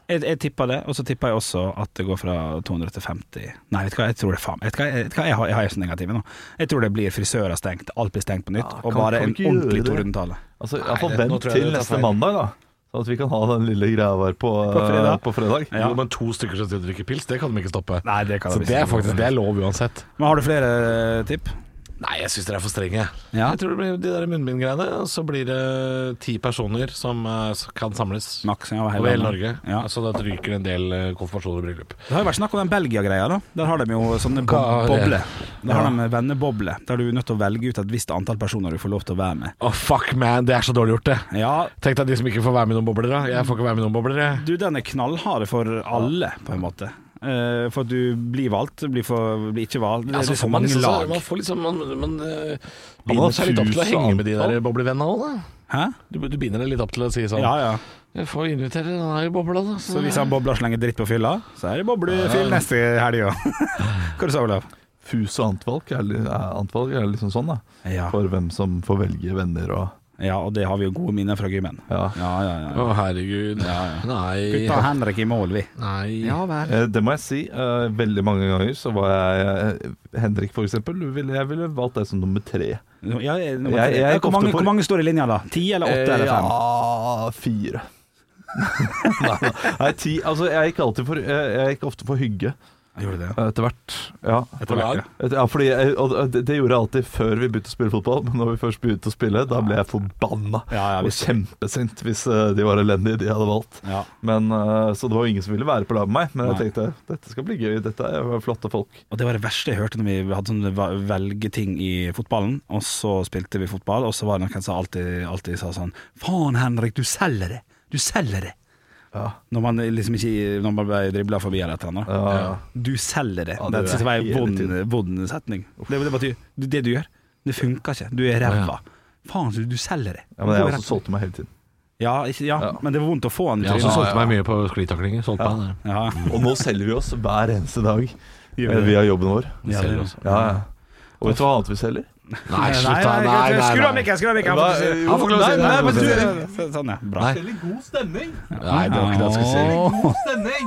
Speaker 2: Jeg, jeg tippa det, og så tippa jeg også at det går fra 200 til 50 Nei, vet du hva, jeg tror det faen vet du hva, jeg, vet du hva, jeg, har, jeg har jo så negative nå. Jeg tror det blir frisører stengt, alt blir stengt på nytt,
Speaker 1: Ja,
Speaker 2: og
Speaker 1: Ah, kan-
Speaker 2: bare
Speaker 1: kan
Speaker 2: en
Speaker 1: vi ikke gjøre
Speaker 2: ordentlig
Speaker 1: det?
Speaker 2: tordentale.
Speaker 1: Altså,
Speaker 3: Nei,
Speaker 1: jeg får
Speaker 3: det- nå
Speaker 1: vent
Speaker 3: tror jeg
Speaker 1: til
Speaker 3: det tar
Speaker 1: neste
Speaker 3: feil.
Speaker 1: mandag, da. Sånn at vi kan ha den lille greia vår på,
Speaker 2: fredag.
Speaker 1: eh, på fredag.
Speaker 2: Ja.
Speaker 3: Jo, men to stykker som sitter og drikker pils, det kan de ikke stoppe.
Speaker 2: Nei, det kan
Speaker 3: Så
Speaker 2: jeg
Speaker 3: det er
Speaker 2: visst ikke.
Speaker 3: faktisk det er lov uansett.
Speaker 2: Men har du flere eh, tipp?
Speaker 3: Nei, jeg syns dere er for strenge.
Speaker 2: Ja.
Speaker 3: Jeg tror det blir de der munnbindgreiene, og så blir det ti personer som eh, s- kan samles
Speaker 2: Maks, ja,
Speaker 3: over hele Norge. Altså.
Speaker 2: Ja.
Speaker 3: Så da ryker en del eh, konfirmasjoner og bryllup.
Speaker 2: Det har jo vært snakk om den Belgia-greia. da Der har de jo sånne bo
Speaker 3: Hva er det?
Speaker 2: bobler. Der har de vennebobler, der du er nødt til å velge ut et visst antall personer du får lov til å være med.
Speaker 3: Å, fuck man, det er så dårlig gjort, det.
Speaker 2: Ja,
Speaker 3: Tenk deg de som ikke får være med i noen bobler, da. Jeg får ikke være med i noen bobler, jeg.
Speaker 2: du, den er knallhard for alle, på en måte. Eh, for at du blir valgt, blir, for, blir ikke valgt. Det er
Speaker 3: Ja, så
Speaker 2: liksom
Speaker 3: får man
Speaker 2: mange
Speaker 3: liksom,
Speaker 2: lag.
Speaker 3: Man får liksom Man, man eh,
Speaker 1: man har
Speaker 3: binder seg litt opp til å
Speaker 1: tusen
Speaker 3: henge med de
Speaker 1: antall.
Speaker 3: der boblevennene òg, da.
Speaker 2: Hæ?
Speaker 3: Du, du binder deg litt opp til å si sånn
Speaker 2: Ja, ja.
Speaker 3: Jeg får invitere den her i bobla, da.
Speaker 2: Så hvis han bobler slenger dritt på fylla, så er det boblefyll neste helg òg. Hva du sa du, Olav?
Speaker 1: Fus og antvalg er, li- er, antvalg er liksom sånn, da.
Speaker 2: Ja.
Speaker 1: For hvem som får velge venner og
Speaker 2: ja, og det har vi jo gode minner fra gymmen.
Speaker 1: Ja.
Speaker 2: Ja, ja, ja.
Speaker 3: Å, herregud.
Speaker 2: Gutta
Speaker 3: Nei.
Speaker 2: Henrik i mål, vi.
Speaker 3: Nei.
Speaker 2: vel.
Speaker 1: Eh, Det må jeg si. eh, Veldig mange ganger så var jeg eh, Henrik, for eksempel. du ville- Jeg ville valgt deg som nummer tre.
Speaker 2: Ja, eh, jeg, nummer
Speaker 1: Jeg-
Speaker 2: tre.
Speaker 1: jeg gikk
Speaker 2: hvor,
Speaker 1: ofte
Speaker 2: mange,
Speaker 1: for-
Speaker 2: hvor mange står i linja, da? Ti eller
Speaker 3: Eh,
Speaker 2: åtte eller fem?
Speaker 1: Ja, fire. Nei, nei, ti. Altså, jeg gikk alltid for eh, Jeg gikk ofte for hygge.
Speaker 2: Jeg gjorde det, ja.
Speaker 1: etter hvert. Ja.
Speaker 3: På lag?
Speaker 1: Et- Ja, fordi jeg, og det det gjorde jeg alltid før vi begynte å spille fotball, men når vi først begynte å spille, da ble jeg forbanna
Speaker 2: Ja, ja,
Speaker 1: og
Speaker 2: visst.
Speaker 1: kjempesint hvis eh, de var elendige, de jeg hadde valgt.
Speaker 2: Ja.
Speaker 1: Men, eh, så det var jo ingen som ville være på lag med meg, men jeg
Speaker 2: Nei.
Speaker 1: tenkte dette skal bli gøy, dette er flotte folk.
Speaker 2: Og det var det verste jeg hørte når vi hadde sånne va- velgeting i fotballen, og så spilte vi fotball, og så var det noen som alltid, alltid sa sånn Faen, Henrik, du selger det! Du selger det!
Speaker 1: Ja.
Speaker 2: Når man liksom ikke Når man ble dribla forbi eller et eller annet.
Speaker 1: Ja, ja.
Speaker 2: Du selger det.
Speaker 1: Ja,
Speaker 2: det
Speaker 1: det
Speaker 2: synes jeg var
Speaker 1: hele
Speaker 2: en vond,
Speaker 1: tiden.
Speaker 2: vond setning. Det, det betyr du- det du gjør, det funker ikke. Du er ræva. Faen, så du selger det.
Speaker 1: Ja, men jeg
Speaker 2: Du er
Speaker 1: også solgte meg hele tiden.
Speaker 2: ja, ikke, ja,
Speaker 1: Ja.
Speaker 2: men det var vondt å få han i
Speaker 3: Jeg også sånn.
Speaker 2: trynet.
Speaker 3: solgte meg mye på sklitaklinger. Solgte meg det.
Speaker 2: Ja,
Speaker 1: Og nå selger vi oss hver eneste dag
Speaker 2: Gjør vi
Speaker 1: eh,
Speaker 2: det?
Speaker 1: via jobben vår.
Speaker 2: Ja,
Speaker 3: Selv
Speaker 2: det-
Speaker 3: også.
Speaker 1: Ja, ja. Og vet du hva annet vi selger?
Speaker 3: Nei, slutt, da.
Speaker 2: Nei,
Speaker 3: Nei,
Speaker 2: nei,
Speaker 3: nei,
Speaker 2: Skru av
Speaker 3: nei.
Speaker 2: mikken, skru av mikken!
Speaker 1: Hva-
Speaker 2: jeg får ikke si-
Speaker 3: Han får ikke lov å si det.
Speaker 1: Nei, nei,
Speaker 3: Han får ikke lov å si det.
Speaker 2: Så- Sånn, ja. Bra.
Speaker 3: Nei.
Speaker 1: selger god stemning!
Speaker 3: Nei, det var ikke det jeg skulle si.
Speaker 1: God stemning!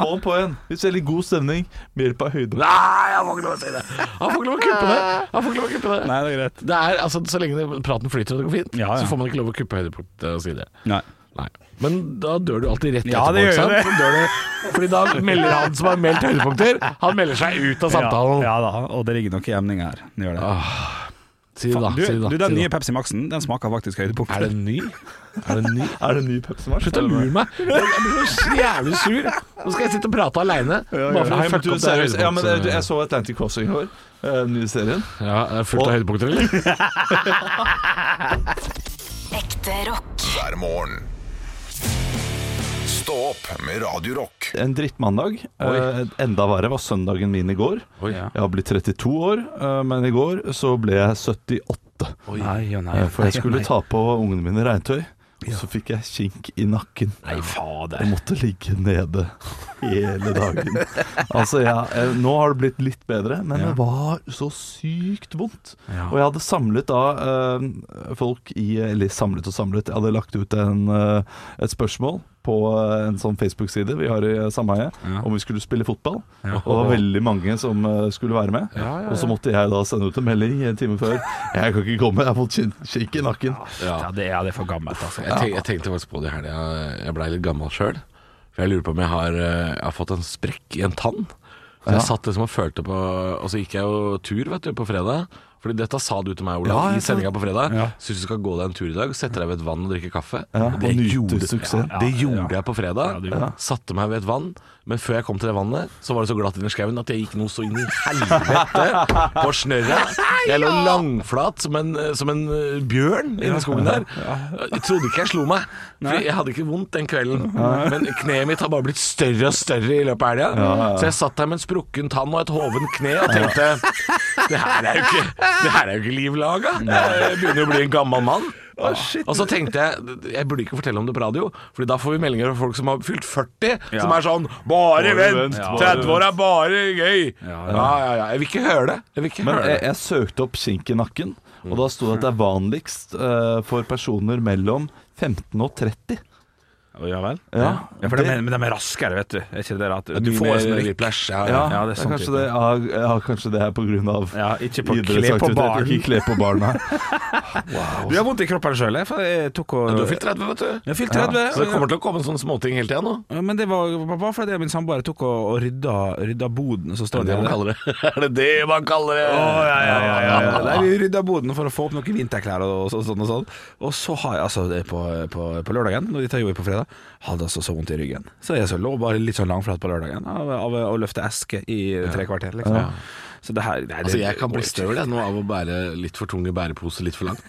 Speaker 1: Få den på igjen. Vi selger god stemning med hjelp av høyde.
Speaker 3: Nei, han får ikke lov å si det! Han får ikke lov å kuppe det! Han får ikke lov å kuppe det.
Speaker 2: Nei, det er greit.
Speaker 3: Det er, altså, Så lenge det- praten flyter og det går fint,
Speaker 2: Ja, ja.
Speaker 3: så får man ikke lov å kuppe høydepunktet og si det.
Speaker 2: Nei.
Speaker 3: Nei. Men da dør du alltid rett
Speaker 2: Ja,
Speaker 3: etterpå.
Speaker 2: det gjør
Speaker 3: ikke sant?
Speaker 2: det.
Speaker 3: Så dør du- Fordi da melder han som har meldt høydepunkter, han melder seg ut av samtalen.
Speaker 2: Ja, ja da, og det ligger noe jemning her. Det Gjør det.
Speaker 3: Si det, da.
Speaker 2: du,
Speaker 3: si det da,
Speaker 2: du, den
Speaker 3: si
Speaker 2: nye
Speaker 3: det da.
Speaker 2: Pepsi Maxen Den smaker faktisk høydepunkt.
Speaker 3: Er det ny? Er det ny?
Speaker 1: Er det en ny Pepsi Max?
Speaker 3: Slutt å lure meg! Jeg blir så jævlig sur. Nå skal jeg sitte og prate aleine. Bare for å
Speaker 1: Nei, men
Speaker 3: fucke
Speaker 1: du,
Speaker 3: opp det
Speaker 1: seriøst. Ja, men eh, du, jeg
Speaker 3: høydepunktet.
Speaker 1: så Atlantic Crossing i går. eh, Den nye serien.
Speaker 3: Ja, er det fullt av høydepunkter, eller?
Speaker 4: Ekte rock.
Speaker 5: hver morgen. Stå opp med Radio Rock.
Speaker 1: En drittmandag. Eh, enda verre var søndagen min i går.
Speaker 3: Oi.
Speaker 1: Jeg har blitt 32 år, eh, men i går så ble jeg 78.
Speaker 2: Nei, ja, nei,
Speaker 1: Eh, For jeg skulle
Speaker 2: nei.
Speaker 1: ta på ungene mine regntøy, og så fikk jeg kink i nakken.
Speaker 2: Nei, fader.
Speaker 1: Jeg måtte ligge nede hele dagen. Altså, jeg, eh, nå har det blitt litt bedre, men det var så sykt vondt.
Speaker 2: Ja.
Speaker 1: Og jeg hadde samlet da eh, folk i Eller samlet og samlet, jeg hadde lagt ut en, eh, et spørsmål på eh, en sånn Facebook-side vi har i eh, sameie,
Speaker 2: Ja.
Speaker 1: om vi skulle spille fotball. Og det var veldig mange som eh, skulle være med.
Speaker 3: Ja, ja,
Speaker 1: Og så måtte jeg da sende ut en melding en time før. 'Jeg kan ikke komme, jeg har fått kink- kink i nakken'.
Speaker 3: Ja.
Speaker 2: Ja, det, ja, det er for gammelt, altså.
Speaker 3: Jeg, tenk, jeg tenkte faktisk på det i helga. Jeg blei litt gammel sjøl. For jeg lurer på om jeg har, eh, jeg har fått en sprekk i en tann. Så jeg satt liksom og følte på Og så gikk jeg jo tur vet du, på fredag. Fordi dette sa du til meg, Olav,
Speaker 1: Ja, jeg
Speaker 3: i
Speaker 1: sa det.
Speaker 3: sendinga på fredag.
Speaker 2: Ja.
Speaker 3: Syns du skal gå deg en tur i dag, sette deg ved et vann og drikke kaffe.
Speaker 1: Ja,
Speaker 3: det,
Speaker 1: og nyte
Speaker 3: gjorde,
Speaker 1: suksessen.
Speaker 3: det gjorde jeg på
Speaker 2: Ja,
Speaker 3: fredag.
Speaker 2: det gjorde jeg.
Speaker 3: Satte meg ved et vann. Men før jeg kom til det vannet, så var det så glatt under skauen at jeg gikk noe så inn i helvete på snørret. Jeg lå langflat som en, som en eh, bjørn inni skogen der. Jeg trodde ikke jeg slo meg, for jeg hadde ikke vondt den kvelden. Men kneet mitt har bare blitt større og større i løpet av helga. Så jeg satt der med en sprukken tann og et hoven kne og tenkte det her er jo ikke, det her er jo ikke liv laga. Jeg begynner jo å bli en gammel mann. og så tenkte jeg Jeg burde ikke fortelle om det på radio, Fordi da får vi meldinger fra folk som har fylt 40, som er sånn 'Bare vent!
Speaker 1: vent, ja.
Speaker 3: 30 år er bare gøy!' Ja,
Speaker 2: Ja, ja.
Speaker 3: ja, ja. Jeg vil ikke høre det. Jeg vil ikke
Speaker 1: Men
Speaker 3: høre
Speaker 1: jeg,
Speaker 3: det.
Speaker 1: jeg søkte opp kink i nakken, og da sto det at det er vanligst eh, for personer mellom 15 og 30.
Speaker 2: Å, Ja vel?
Speaker 1: Ja,
Speaker 2: Ja, for de er, men de er raskere, vet du. Er ikke det at
Speaker 3: Du
Speaker 2: mye
Speaker 3: får
Speaker 2: mer-
Speaker 3: en whiplash. Ja,
Speaker 1: ja,
Speaker 3: ja.
Speaker 2: ja,
Speaker 1: det
Speaker 2: det er
Speaker 1: er
Speaker 2: sånn
Speaker 1: kanskje,
Speaker 2: type.
Speaker 1: det, ja, ja, kanskje det er på grunn av
Speaker 2: Ja, ikke på kle på
Speaker 1: idrettsaktivitet.
Speaker 2: barn.
Speaker 1: Ikke kle på barna.
Speaker 2: Du har vondt i kroppen sjøl, jeg. For jeg tok og
Speaker 3: Du har fylt 30, vet du.
Speaker 2: Jeg har fylt 30.
Speaker 3: Så det kommer til å komme sånne småting hele tida nå.
Speaker 2: Ja, Men det var bare fordi jeg og min samboer tok og, og rydda, rydda boden, så står
Speaker 3: Det
Speaker 2: det
Speaker 3: er det man kaller det. Er det det man kaller det?
Speaker 2: Nei, vi rydda boden for å få opp noen vinterklær og så- sånn og sånn. Og så har jeg altså det på, på, på lørdagen, når de tar jobb på fredag, hadde altså så vondt i ryggen. Så jeg så lå bare litt sånn langflat på lørdagen av, av å løfte eske i tre kvarter, liksom. Så det her nei, det,
Speaker 3: Altså, jeg kan bli støl jeg, nå av å bære litt for tunge bæreposer litt for langt.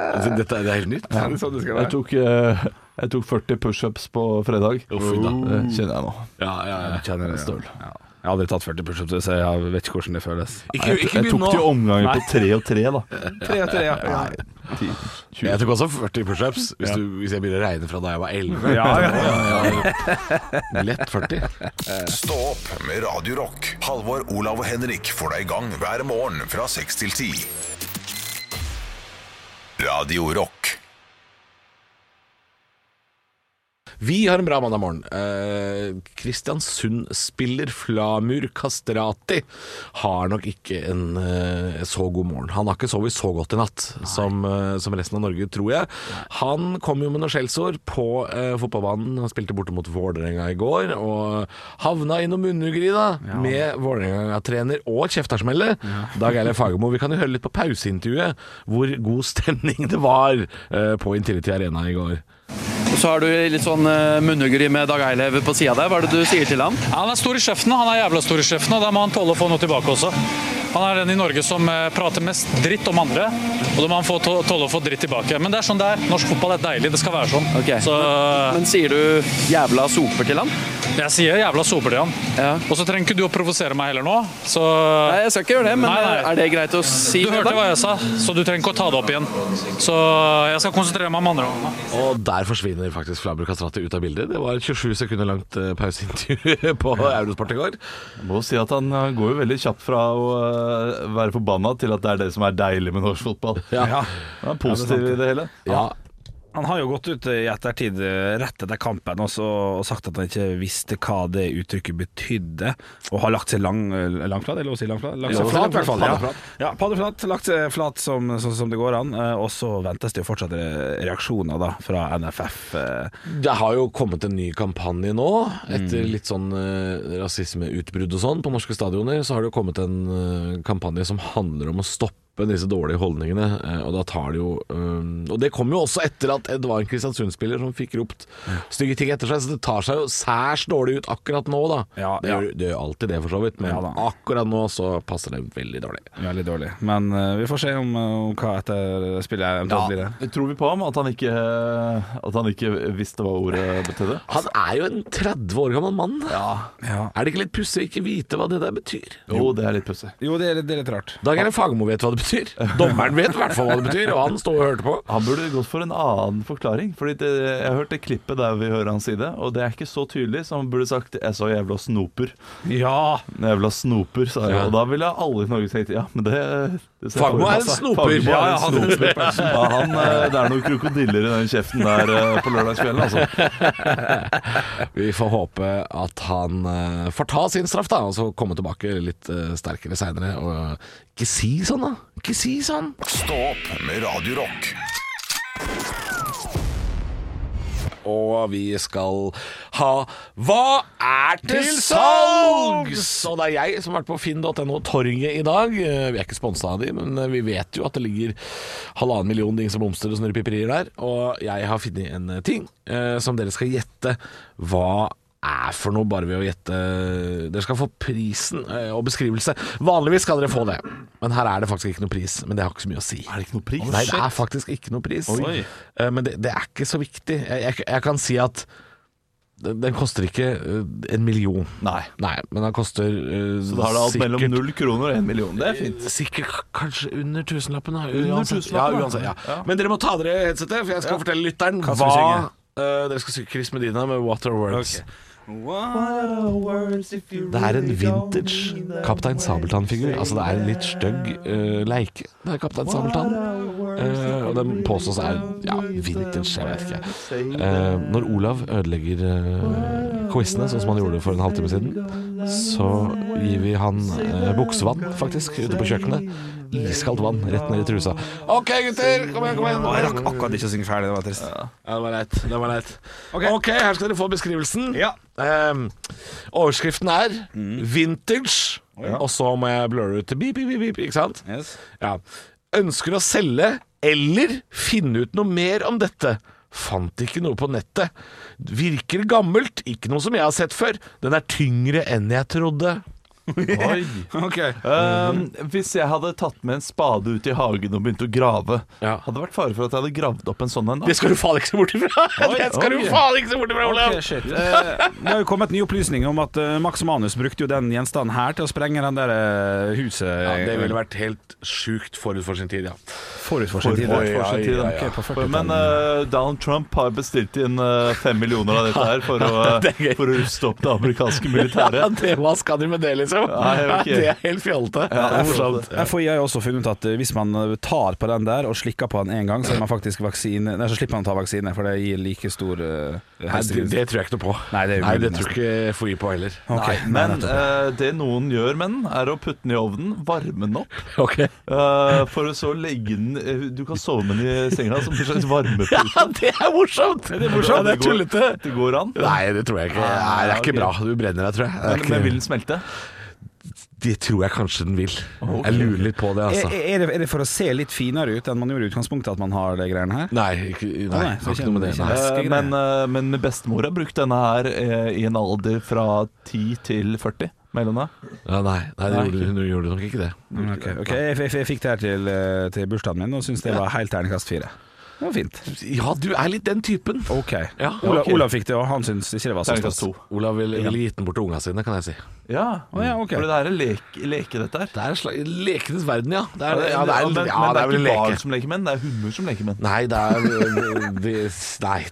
Speaker 3: Altså, dette er, det er helt nytt.
Speaker 2: Er det sånn det skal
Speaker 1: Jeg
Speaker 2: være?
Speaker 1: tok, eh, jeg tok 40 pushups på fredag.
Speaker 3: Å, fy da.
Speaker 1: Det kjenner jeg nå.
Speaker 3: Ja, ja, ja.
Speaker 2: Kjenner det.
Speaker 1: Støl.
Speaker 2: Ja. Jeg har aldri tatt 40 pushups, så jeg vet ikke hvordan det føles.
Speaker 3: Ikke, ikke
Speaker 1: Jeg
Speaker 3: begynn
Speaker 1: tok
Speaker 3: nå.
Speaker 1: jo omganger på tre og tre, da.
Speaker 2: Tre og tre, ja. ja.
Speaker 1: Ti,
Speaker 3: Jeg
Speaker 1: 20.
Speaker 3: tok også 40 pushups, hvis, du- hvis jeg begynner å regne fra da jeg var 11.
Speaker 2: Ja, ja,
Speaker 3: Lett 40.
Speaker 5: Stå opp med Radio Rock. Halvor, Olav og Henrik får deg i gang hver morgen fra 6 til 10. Radio Rock.
Speaker 3: Vi har en bra mandag morgen. Eh, Kristiansund-spiller Flamur Kastrati har nok ikke en eh, så god morgen. Han har ikke sovet så godt i natt som, eh, som resten av Norge, tror jeg. Han kom jo med noen skjellsord på eh, fotballbanen. Han spilte borte mot Vålerenga i går, og havna i noen munnhuggeri da, med Vålerenga-trener og kjeftersmelle. Dag Eilev Fagermo, vi kan jo høre litt på pauseintervjuet hvor god stemning det var eh, på Intility Arena i går.
Speaker 6: Og så har du litt sånn eh, munnhuggeri med Dag Eilev på sida der. Hva er det du sier til han?
Speaker 7: Ja, Han er stor i kjeften, han er jævla stor i kjeften, og da må han tåle å få noe tilbake også. Han er den i Norge som eh, prater mest dritt om andre, og da må han få tå- tåle å få dritt tilbake. Men det er sånn det er. Norsk fotball er deilig, det skal være sånn.
Speaker 6: Ok.
Speaker 7: Så
Speaker 6: Men sier du 'jævla soper' til han?
Speaker 7: jeg sier jævla soper til han.
Speaker 6: Ja.
Speaker 7: Og så trenger ikke du å provosere meg heller nå, så
Speaker 6: Nei, jeg skal ikke gjøre det, men
Speaker 7: Nei, nei.
Speaker 6: eh, er det greit å si?
Speaker 7: du hørte
Speaker 6: Dag?
Speaker 7: hva jeg sa, så du trenger ikke å ta det opp igjen. Så eh, jeg skal konsentrere meg om andre hånda.
Speaker 3: Og der forsvinner faktisk Flamur Kastrati ut av bildet. Det var et 27 sekunder langt eh, pauseintervju på Eurosport i går.
Speaker 1: Må si at han eh, går jo veldig kjapt fra å eh, være forbanna til at det er det som er deilig med norsk fotball.
Speaker 3: Ja.
Speaker 1: Han er positiv i det hele.
Speaker 3: Ja.
Speaker 2: Han har jo gått ut i ettertid eh, rett etter kampen også, og sagt at han ikke visste hva det uttrykket betydde, og har lagt seg lang, langflat, eller å si langflat? Lagt seg
Speaker 3: Ja,
Speaker 2: flat, i
Speaker 3: flat,
Speaker 2: hvert fall. Ja.
Speaker 3: paddeflat.
Speaker 2: ja, paddeflat. Lagt seg flat som, sånn som det går an, eh, og så ventes det jo fortsatt re- reaksjoner da, fra NFF. eh.
Speaker 3: Det har jo kommet en ny kampanje nå, etter litt sånn eh, rasismeutbrudd og sånn på norske stadioner. Så har det jo kommet en eh, kampanje som handler om å stoppe disse dårlige holdningene. eh, og da tar det jo eh, Og det kom jo også etter at det var en Kristiansund-spiller som fikk ropt stygge ting etter seg, så det tar seg jo særs dårlig ut akkurat nå, da.
Speaker 2: Ja,
Speaker 3: det,
Speaker 2: ja.
Speaker 3: gjør, det gjør alltid det, for så vidt, men
Speaker 2: Ja, da.
Speaker 3: akkurat nå så passer det veldig dårlig.
Speaker 2: Veldig dårlig. Men eh, vi får se om, eh, om hva etter spillet eventuelt blir. det.
Speaker 1: Tror vi på ham at han ikke, at han ikke visste hva ordet betydde?
Speaker 3: Han er jo en 30 år gammel mann.
Speaker 2: Ja.
Speaker 3: Er det ikke litt pussig å ikke vite hva det der betyr?
Speaker 1: Jo, det er litt pussig.
Speaker 2: Jo, det er, det er litt rart.
Speaker 3: Dag Erlend Fagermo vet hva det betyr. Dommeren vet i hvert fall hva det betyr, og han sto og hørte på.
Speaker 1: Han burde gått for en annen forklaring. Fordi det, Jeg hørte klippet der vi hører han si det, og det er ikke så tydelig, så han burde sagt 'jeg så jævla snoper'.
Speaker 2: Ja!
Speaker 1: Jævla snoper, sa jeg.
Speaker 3: Ja.
Speaker 1: Og da ville alle i Norge tenkt ja, men det, det ser
Speaker 3: Fagmo
Speaker 1: jeg for meg,
Speaker 3: er en
Speaker 1: altså.
Speaker 3: snoper.
Speaker 1: Fagmo er
Speaker 3: Ja,
Speaker 1: en
Speaker 3: ja, han-
Speaker 1: snoper. Ja, han, eh, det er noen krokodiller i den kjeften der eh, på lørdagskvelden, altså.
Speaker 3: Vi får håpe at han eh, får ta sin straff, da, og så komme tilbake litt eh, sterkere seinere. Og ikke si sånn, da. Ikke si sånn.
Speaker 5: Stå opp med Radio Rock.
Speaker 3: Og vi skal ha Hva er til salgs?! Og det er jeg som har vært på finn.no torget i dag. Eh, Vi er ikke sponsa av de, men eh, vi vet jo at det ligger halvannen million dings og blomster og snurrepiperier der. Og jeg har funnet en eh, ting eh, som dere skal gjette hva er for noe, bare ved å gjette Dere skal få prisen eh, og beskrivelse. Vanligvis skal dere få det, men her er det faktisk ikke noe pris. Men det har ikke så mye å si.
Speaker 1: Er det ikke noe pris?
Speaker 3: Nei, det er faktisk ikke noe pris.
Speaker 2: Oi.
Speaker 3: Eh, Men det, det er ikke så viktig. Jeg, jeg, jeg kan si at den, den koster ikke eh, en million.
Speaker 1: Nei.
Speaker 3: Nei, men den koster eh,
Speaker 1: Så da har det alt mellom
Speaker 3: sikkert-
Speaker 1: null kroner og én million. Det er fint.
Speaker 3: Sikkert k- kanskje under tusenlappen. da.
Speaker 1: Under
Speaker 3: Uansett.
Speaker 1: tusenlappen,
Speaker 3: ja,
Speaker 1: da.
Speaker 3: uansett, ja.
Speaker 1: Ja.
Speaker 3: Men dere må ta av dere headsetet, for jeg skal fortelle lytteren hva,
Speaker 2: skal vi synge?
Speaker 3: eh, Dere skal synge Chris Medina med Water Words.
Speaker 2: Ok.
Speaker 3: Det er en vintage Kaptein Sabeltann-figur. Altså, det er en litt stygg eh, leike. Det er Kaptein Sabeltann. Eh, og den påstås er ja, vintage, jeg vet ikke. Eh, når Olav ødelegger uh, quizene, sånn som han gjorde for en halvtime siden, så gir vi han eh, buksevann, faktisk, ute på kjøkkenet. Iskaldt vann rett ned i trusa. OK, gutter! Kom igjen, kom igjen!
Speaker 2: Å, jeg rakk akkurat ikke å synge ferdig, det var trist.
Speaker 3: Ja, det var leit. Det var leit.
Speaker 2: Ok.
Speaker 3: ok, her skal dere få beskrivelsen.
Speaker 2: Ja. Mm.
Speaker 3: Ehm, overskriften er 'vintage', og så må jeg blurre ut til beep, beep, beep, beep, ikke sant?
Speaker 2: Yes.
Speaker 3: Ja. Ønsker å selge eller finne ut noe mer om dette. Fant ikke noe på nettet. Virker gammelt, ikke noe som jeg har sett før. Den er tyngre enn jeg trodde.
Speaker 1: Oi.
Speaker 2: Ok.
Speaker 3: Mhm.
Speaker 1: Um, hvis jeg hadde tatt med en spade ut i hagen og begynt å grave,
Speaker 3: Ja.
Speaker 1: hadde det vært fare for at jeg hadde gravd opp en sånn en? da?
Speaker 3: Det skal du faen ikke se bort ifra! Det skal
Speaker 1: oi.
Speaker 3: du faen ikke se bort ifra, Olav!
Speaker 2: Ok, shit. Eh, Det har jo kommet nye opplysninger om at eh, Max Manus brukte jo den gjenstanden her til å sprenge den der eh, huset
Speaker 3: Ja, det ville vært helt sjukt forut for sin tid, ja.
Speaker 2: forut for sin tid.
Speaker 3: Oi, ja,
Speaker 1: sin tid,
Speaker 3: ja,
Speaker 1: da.
Speaker 3: ja.
Speaker 2: Ok, på
Speaker 1: For- Men
Speaker 2: 40-tallet.
Speaker 1: eh, Donald Trump har bestilt inn eh, fem millioner av dette her for å, eh,
Speaker 3: Det er gøy.
Speaker 1: for å ruste opp det amerikanske
Speaker 3: Ja,
Speaker 1: militæret.
Speaker 3: det, hva skal de med det, liksom? liksom.
Speaker 1: Nei, det var ikke-
Speaker 3: det er helt fjollete. det er morsomt.
Speaker 2: FHI har jo også funnet ut at eh, hvis man tar på den der og slikker på den én gang, så, er man faktisk vaksine, nei, så slipper man å ta vaksine, for det gir like stor uh,
Speaker 3: Nei, det, det tror jeg ikke noe på.
Speaker 2: Nei, det er
Speaker 3: Nei,
Speaker 2: umulig
Speaker 3: det tror jeg ikke FHI på heller.
Speaker 1: Men eh, det noen gjør med den, er å putte den i ovnen, varme den opp,
Speaker 3: Ok
Speaker 1: eh, for å så legge den eh, Du kan sove med den i senga som en slags varmepute.
Speaker 3: Ja, det er morsomt! Det er
Speaker 1: Ja,
Speaker 3: det er
Speaker 1: går-
Speaker 3: tullete.
Speaker 1: Det går an.
Speaker 3: Nei, det tror jeg ikke. Nei, det er ikke bra. Du brenner deg, tror jeg. Det, er
Speaker 1: Men, men vil
Speaker 3: ikke,
Speaker 1: den smelte?
Speaker 3: det tror jeg kanskje den vil. Jeg lurer litt på det, altså.
Speaker 2: Er, er, det, er det for å se litt finere ut enn man gjorde i utgangspunktet at man har det greiene her?
Speaker 3: Nei, ikke, nei,
Speaker 2: nei,
Speaker 3: det har
Speaker 2: så
Speaker 3: ikke noe med det.
Speaker 2: kjenner-
Speaker 3: Nei.
Speaker 2: Væske
Speaker 1: Eh,
Speaker 2: greier.
Speaker 1: Men, eh, men bestemor har brukt denne her eh, i en alder fra 10 til 40. Mellom deg.
Speaker 3: Ja, nei, nei det gjorde, hun gjorde nok ikke det.
Speaker 2: Mm, Ok, ok. Jeg, jeg, jeg fikk det her til, eh, til bursdagen min og syns det var helt terningkast fire. Det var fint.
Speaker 3: Ja, du er litt den typen.
Speaker 2: Ok.
Speaker 3: Ja,
Speaker 2: Ola,
Speaker 3: ok.
Speaker 2: Olav fikk det, og han syns ikke det var så
Speaker 1: Terningkast
Speaker 2: stas.
Speaker 1: to.
Speaker 3: Olav ville vil gitt den bort til unga sine, kan jeg si.
Speaker 1: Ja,
Speaker 2: Å ja, ok.
Speaker 1: For det her er lek, leke, dette her.
Speaker 3: Det er en slags lekenes verden, ja. Det er, ja,
Speaker 1: Ja,
Speaker 3: det
Speaker 1: men,
Speaker 3: er, ja,
Speaker 1: men
Speaker 3: det er vel
Speaker 1: ikke barn
Speaker 3: leke.
Speaker 1: som leker menn, det er hunder som leker menn.
Speaker 3: Nei, det er, det, nei,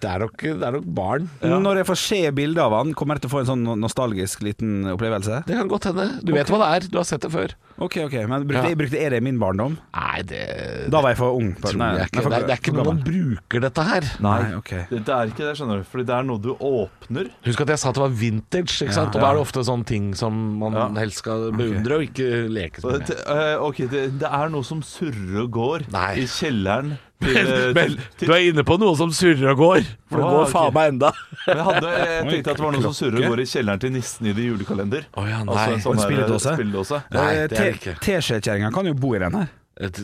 Speaker 3: det er, nok, det er nok barn.
Speaker 2: Når jeg får se bilder av han, kommer jeg til å få en sånn no- nostalgisk liten opplevelse?
Speaker 3: Det kan godt hende. Du vet hva det er. Du har sett det før.
Speaker 2: Ok, ok, men brukte,
Speaker 3: Ja.
Speaker 2: jeg brukte er det i min barndom?
Speaker 3: Nei, det,
Speaker 2: Da var jeg for ung.
Speaker 3: tror
Speaker 2: Nei,
Speaker 3: jeg ikke.
Speaker 2: nei, eh, for-
Speaker 3: Det er, det er
Speaker 2: for
Speaker 3: ikke noe
Speaker 2: gammel.
Speaker 3: man bruker dette her.
Speaker 2: Nei, ok.
Speaker 1: Det, det er ikke det, skjønner du. Fordi det er noe du åpner.
Speaker 3: Husk at jeg sa at det var vintage, ikke sant? og da er det ofte sånne ting som man helst skal beundre, og ikke leke
Speaker 1: Og
Speaker 3: med.
Speaker 1: Det, eh, ok, det, det er noe som surrer og går
Speaker 3: Nei.
Speaker 1: i kjelleren til,
Speaker 3: Men,
Speaker 1: eh,
Speaker 3: men
Speaker 1: til,
Speaker 3: du
Speaker 1: til
Speaker 3: er inne på noe som surrer og går, for det
Speaker 1: Ah,
Speaker 3: går
Speaker 1: ok.
Speaker 3: faen meg enda.
Speaker 1: Jeg, hadde, eh, jeg tenkte at det var noe som surrer og går i kjelleren til nissen i det julekalender.
Speaker 3: Å ja, nei.
Speaker 1: Altså en sånn
Speaker 2: Og en
Speaker 1: der, eh,
Speaker 2: spilledåse.
Speaker 1: spilledåse.
Speaker 3: Nei,
Speaker 2: Eh,
Speaker 3: det er det
Speaker 2: te-
Speaker 3: ikke.
Speaker 2: Teskjekjerringa kan jo bo i den her.
Speaker 3: Et,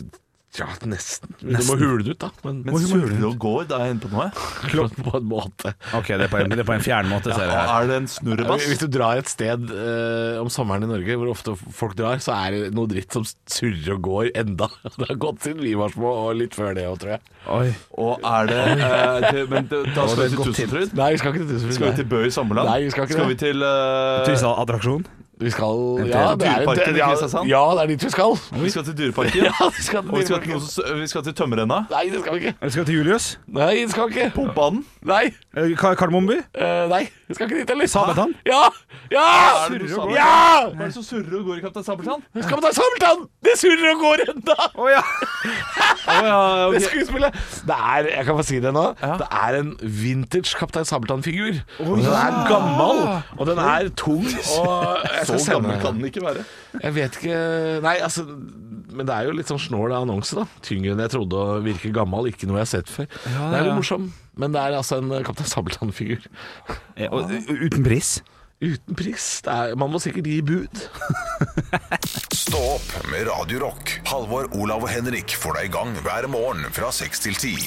Speaker 3: ja, nesten. Du må hule det ut, da. Men,
Speaker 1: Men surrer og går, da er jeg inne på noe.
Speaker 3: på en måte.
Speaker 2: Ok, det er på en, det er på en fjern måte, ser jeg her.
Speaker 1: Er det en snurrebass?
Speaker 3: Hvis du drar et sted eh, om sommeren i Norge hvor ofte folk drar, så er det noe dritt som surrer og går enda. Det har gått siden vi var små, og litt før det òg, tror jeg.
Speaker 2: Oi.
Speaker 1: Og er det, eh, det Men det, da skal vi til Tusenfryd.
Speaker 3: Nei, vi skal ikke til Tusenfryd.
Speaker 1: Skal vi til Bø i Sommerland?
Speaker 3: Nei, vi skal ikke
Speaker 1: skal vi
Speaker 3: det.
Speaker 1: til eh,
Speaker 2: Tusen attraksjon.
Speaker 3: Vi skal Ja, det er,
Speaker 1: Dyreparken i
Speaker 3: ja,
Speaker 1: Kristiansand?
Speaker 3: ja, det er dit vi skal.
Speaker 1: Vi skal til Dyreparken.
Speaker 3: Ja, vi skal
Speaker 1: Og vi skal,
Speaker 3: til
Speaker 1: til noe som- vi skal til Tømmerrenna.
Speaker 3: Nei, det skal vi ikke.
Speaker 2: Vi skal til Julius.
Speaker 3: Nei, det skal vi ikke.
Speaker 1: Banen.
Speaker 3: Nei,
Speaker 2: Eh, Ka- Kardemommeby.
Speaker 3: eh, nei, vi skal ikke dit heller.
Speaker 2: Sabeltann?
Speaker 3: Ja! Ja!
Speaker 1: Er det noe
Speaker 3: Surrer og
Speaker 1: sabeltann?
Speaker 3: går. Ja!
Speaker 1: Hva er det som surrer og går i Kaptein Sabeltann?
Speaker 3: Vi skal på Sabeltann! Det surrer og går enda.
Speaker 2: Å ja!
Speaker 1: Å ja, ok.
Speaker 3: Det skuespillet. Det er, jeg kan få si det nå, det er en vintage Kaptein Sabeltann-figur. Og den er gammel, og den er tung, og jeg skal
Speaker 1: Så gammel
Speaker 3: sende
Speaker 1: kan den ikke være.
Speaker 3: Jeg vet ikke Nei, altså Men det er jo litt sånn snål annonse, da. Tyngre enn jeg trodde, og virker gammel. Ikke noe jeg har sett før. Det er litt morsom, men det er altså en Kaptein Sabeltann-figur.
Speaker 2: Eh, og- Uten pris.
Speaker 3: Uten pris. Det er, man må sikkert gi bud.
Speaker 5: Stå opp med Radio Rock. Halvor, Olav og Henrik får deg i gang hver morgen fra 6 til 10.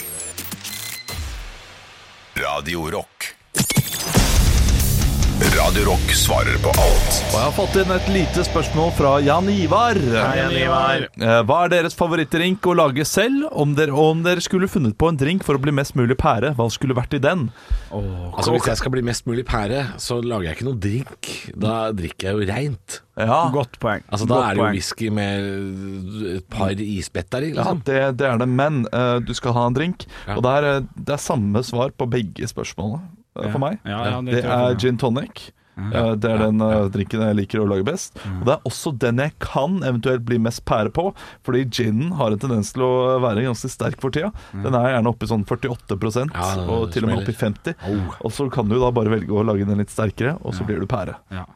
Speaker 5: Radio Rock. Radio Rock svarer på alt
Speaker 1: Og jeg har fått inn et lite spørsmål fra Jan Ivar. Eh, Hva er deres favorittdrink å lage selv? Om dere, og om dere skulle funnet på en drink for å bli mest mulig pære, hva skulle vært i den?
Speaker 3: Altså Hvis jeg skal bli mest mulig pære, så lager jeg ikke noe drink. Da drikker jeg jo reint.
Speaker 1: Ja,
Speaker 2: Godt poeng.
Speaker 3: Altså, da
Speaker 2: Godt
Speaker 3: er det jo
Speaker 2: poeng.
Speaker 3: whisky med et par isbetter i.
Speaker 1: ja
Speaker 3: Liksom.
Speaker 1: det, det er det. Men eh, du skal ha en drink.
Speaker 3: Ja.
Speaker 1: Og det er, eh, det er samme svar på begge spørsmålene eh, for meg.
Speaker 2: Ja, ja,
Speaker 1: Det
Speaker 2: tror jeg på
Speaker 1: er
Speaker 2: meg.
Speaker 1: gin tonic. Eh, Det er den eh, drinken jeg liker å lage best. Og det er også den jeg kan eventuelt bli mest pære på, fordi ginen har en tendens til å være ganske sterk for tida. Den er gjerne oppe i sånn 48
Speaker 3: Ja, det
Speaker 1: og til og med oppe i 50 Og så kan du da bare velge å lage den litt sterkere, og så blir du pære.
Speaker 2: Ja.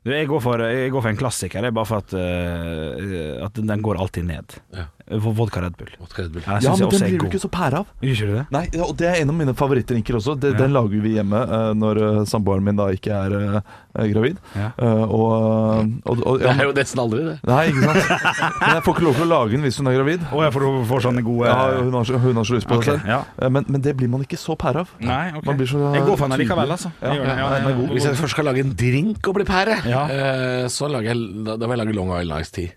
Speaker 2: Du, jeg, går for, jeg går for en klassiker, det er bare for at, eh, at den- den går alltid ned.
Speaker 3: Ja.
Speaker 2: V- Vodka Red Bull.
Speaker 3: Vodka Red Bull.
Speaker 2: Ja,
Speaker 1: Ja, men den blir
Speaker 2: er
Speaker 1: du
Speaker 2: god.
Speaker 1: ikke så pære av.
Speaker 2: Gjør ikke du det?
Speaker 1: Nei, ja, og Det er en av mine favorittdrinker også. Det, Den lager vi hjemme eh, når eh, samboeren min da ikke er eh, gravid.
Speaker 2: Ja.
Speaker 1: Eh, og, og, og,
Speaker 3: Det
Speaker 1: ja,
Speaker 3: er jo nesten aldri det.
Speaker 1: Nei, ikke sant? Men jeg får ikke lov til å lage den hvis hun er gravid.
Speaker 2: Å, jeg får, får sånne gode
Speaker 1: Ja, hun har, så- hun har så lyst på
Speaker 2: Ok,
Speaker 1: det selv.
Speaker 2: ja.
Speaker 1: Eh, Men, men det blir man ikke så pære av.
Speaker 2: Nei, ok.
Speaker 1: Man blir så
Speaker 2: Jeg går for den likevel, altså. Jeg gjør det. Ja, ja, ja.
Speaker 3: Hvis jeg først skal lage en drink og bli pære,
Speaker 2: Ja.
Speaker 3: eh, så lager jeg, da, da må jeg lage Long Island Ice Tea.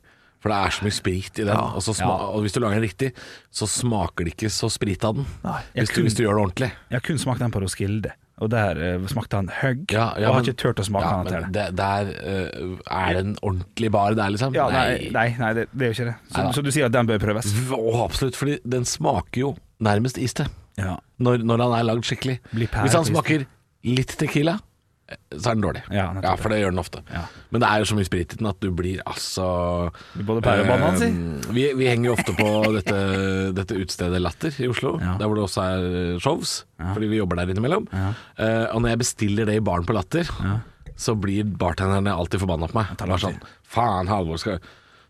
Speaker 3: For det er så mye sprit i den. Og, så sma, og hvis du lager den riktig, så smaker det ikke så sprit av den.
Speaker 2: Jeg
Speaker 3: Hvis du,
Speaker 2: kun-
Speaker 3: hvis du gjør det ordentlig.
Speaker 2: Jeg har kun smakt den på Roskilde, og der eh, smakte han høgg.
Speaker 3: Ja, ja,
Speaker 2: og har
Speaker 3: men-
Speaker 2: ikke turt å smake
Speaker 3: ja,
Speaker 2: den
Speaker 3: men
Speaker 2: til det.
Speaker 3: det- Der eh, er det en ordentlig bar der, liksom.
Speaker 2: Ja, nei, nei, nei det, det er jo ikke det. Så,
Speaker 3: Neida.
Speaker 2: så du sier at den bør prøves?
Speaker 3: Å, absolutt, fordi den smaker jo nærmest iste
Speaker 2: Ja.
Speaker 3: når, når han er lagd skikkelig.
Speaker 2: Blir pære
Speaker 3: Hvis han
Speaker 2: på iste.
Speaker 3: smaker litt tequila, eh, så er den dårlig.
Speaker 2: Ja, nettopp.
Speaker 3: for det gjør den ofte.
Speaker 2: Ja.
Speaker 3: Men det er jo så mye sprit i den at du blir altså
Speaker 2: Både pære og banan, si.
Speaker 3: Eh, Vi, vi henger jo ofte på dette, dette utestedet Latter i Oslo,
Speaker 2: Ja.
Speaker 3: der hvor det også er eh, shows, fordi vi jobber der innimellom. Eh, og når jeg bestiller det i baren på Latter, så blir bartenderne alltid forbanna på meg.
Speaker 2: tar
Speaker 3: Bare
Speaker 2: alltid.
Speaker 3: sånn Faen, Halvor, skal,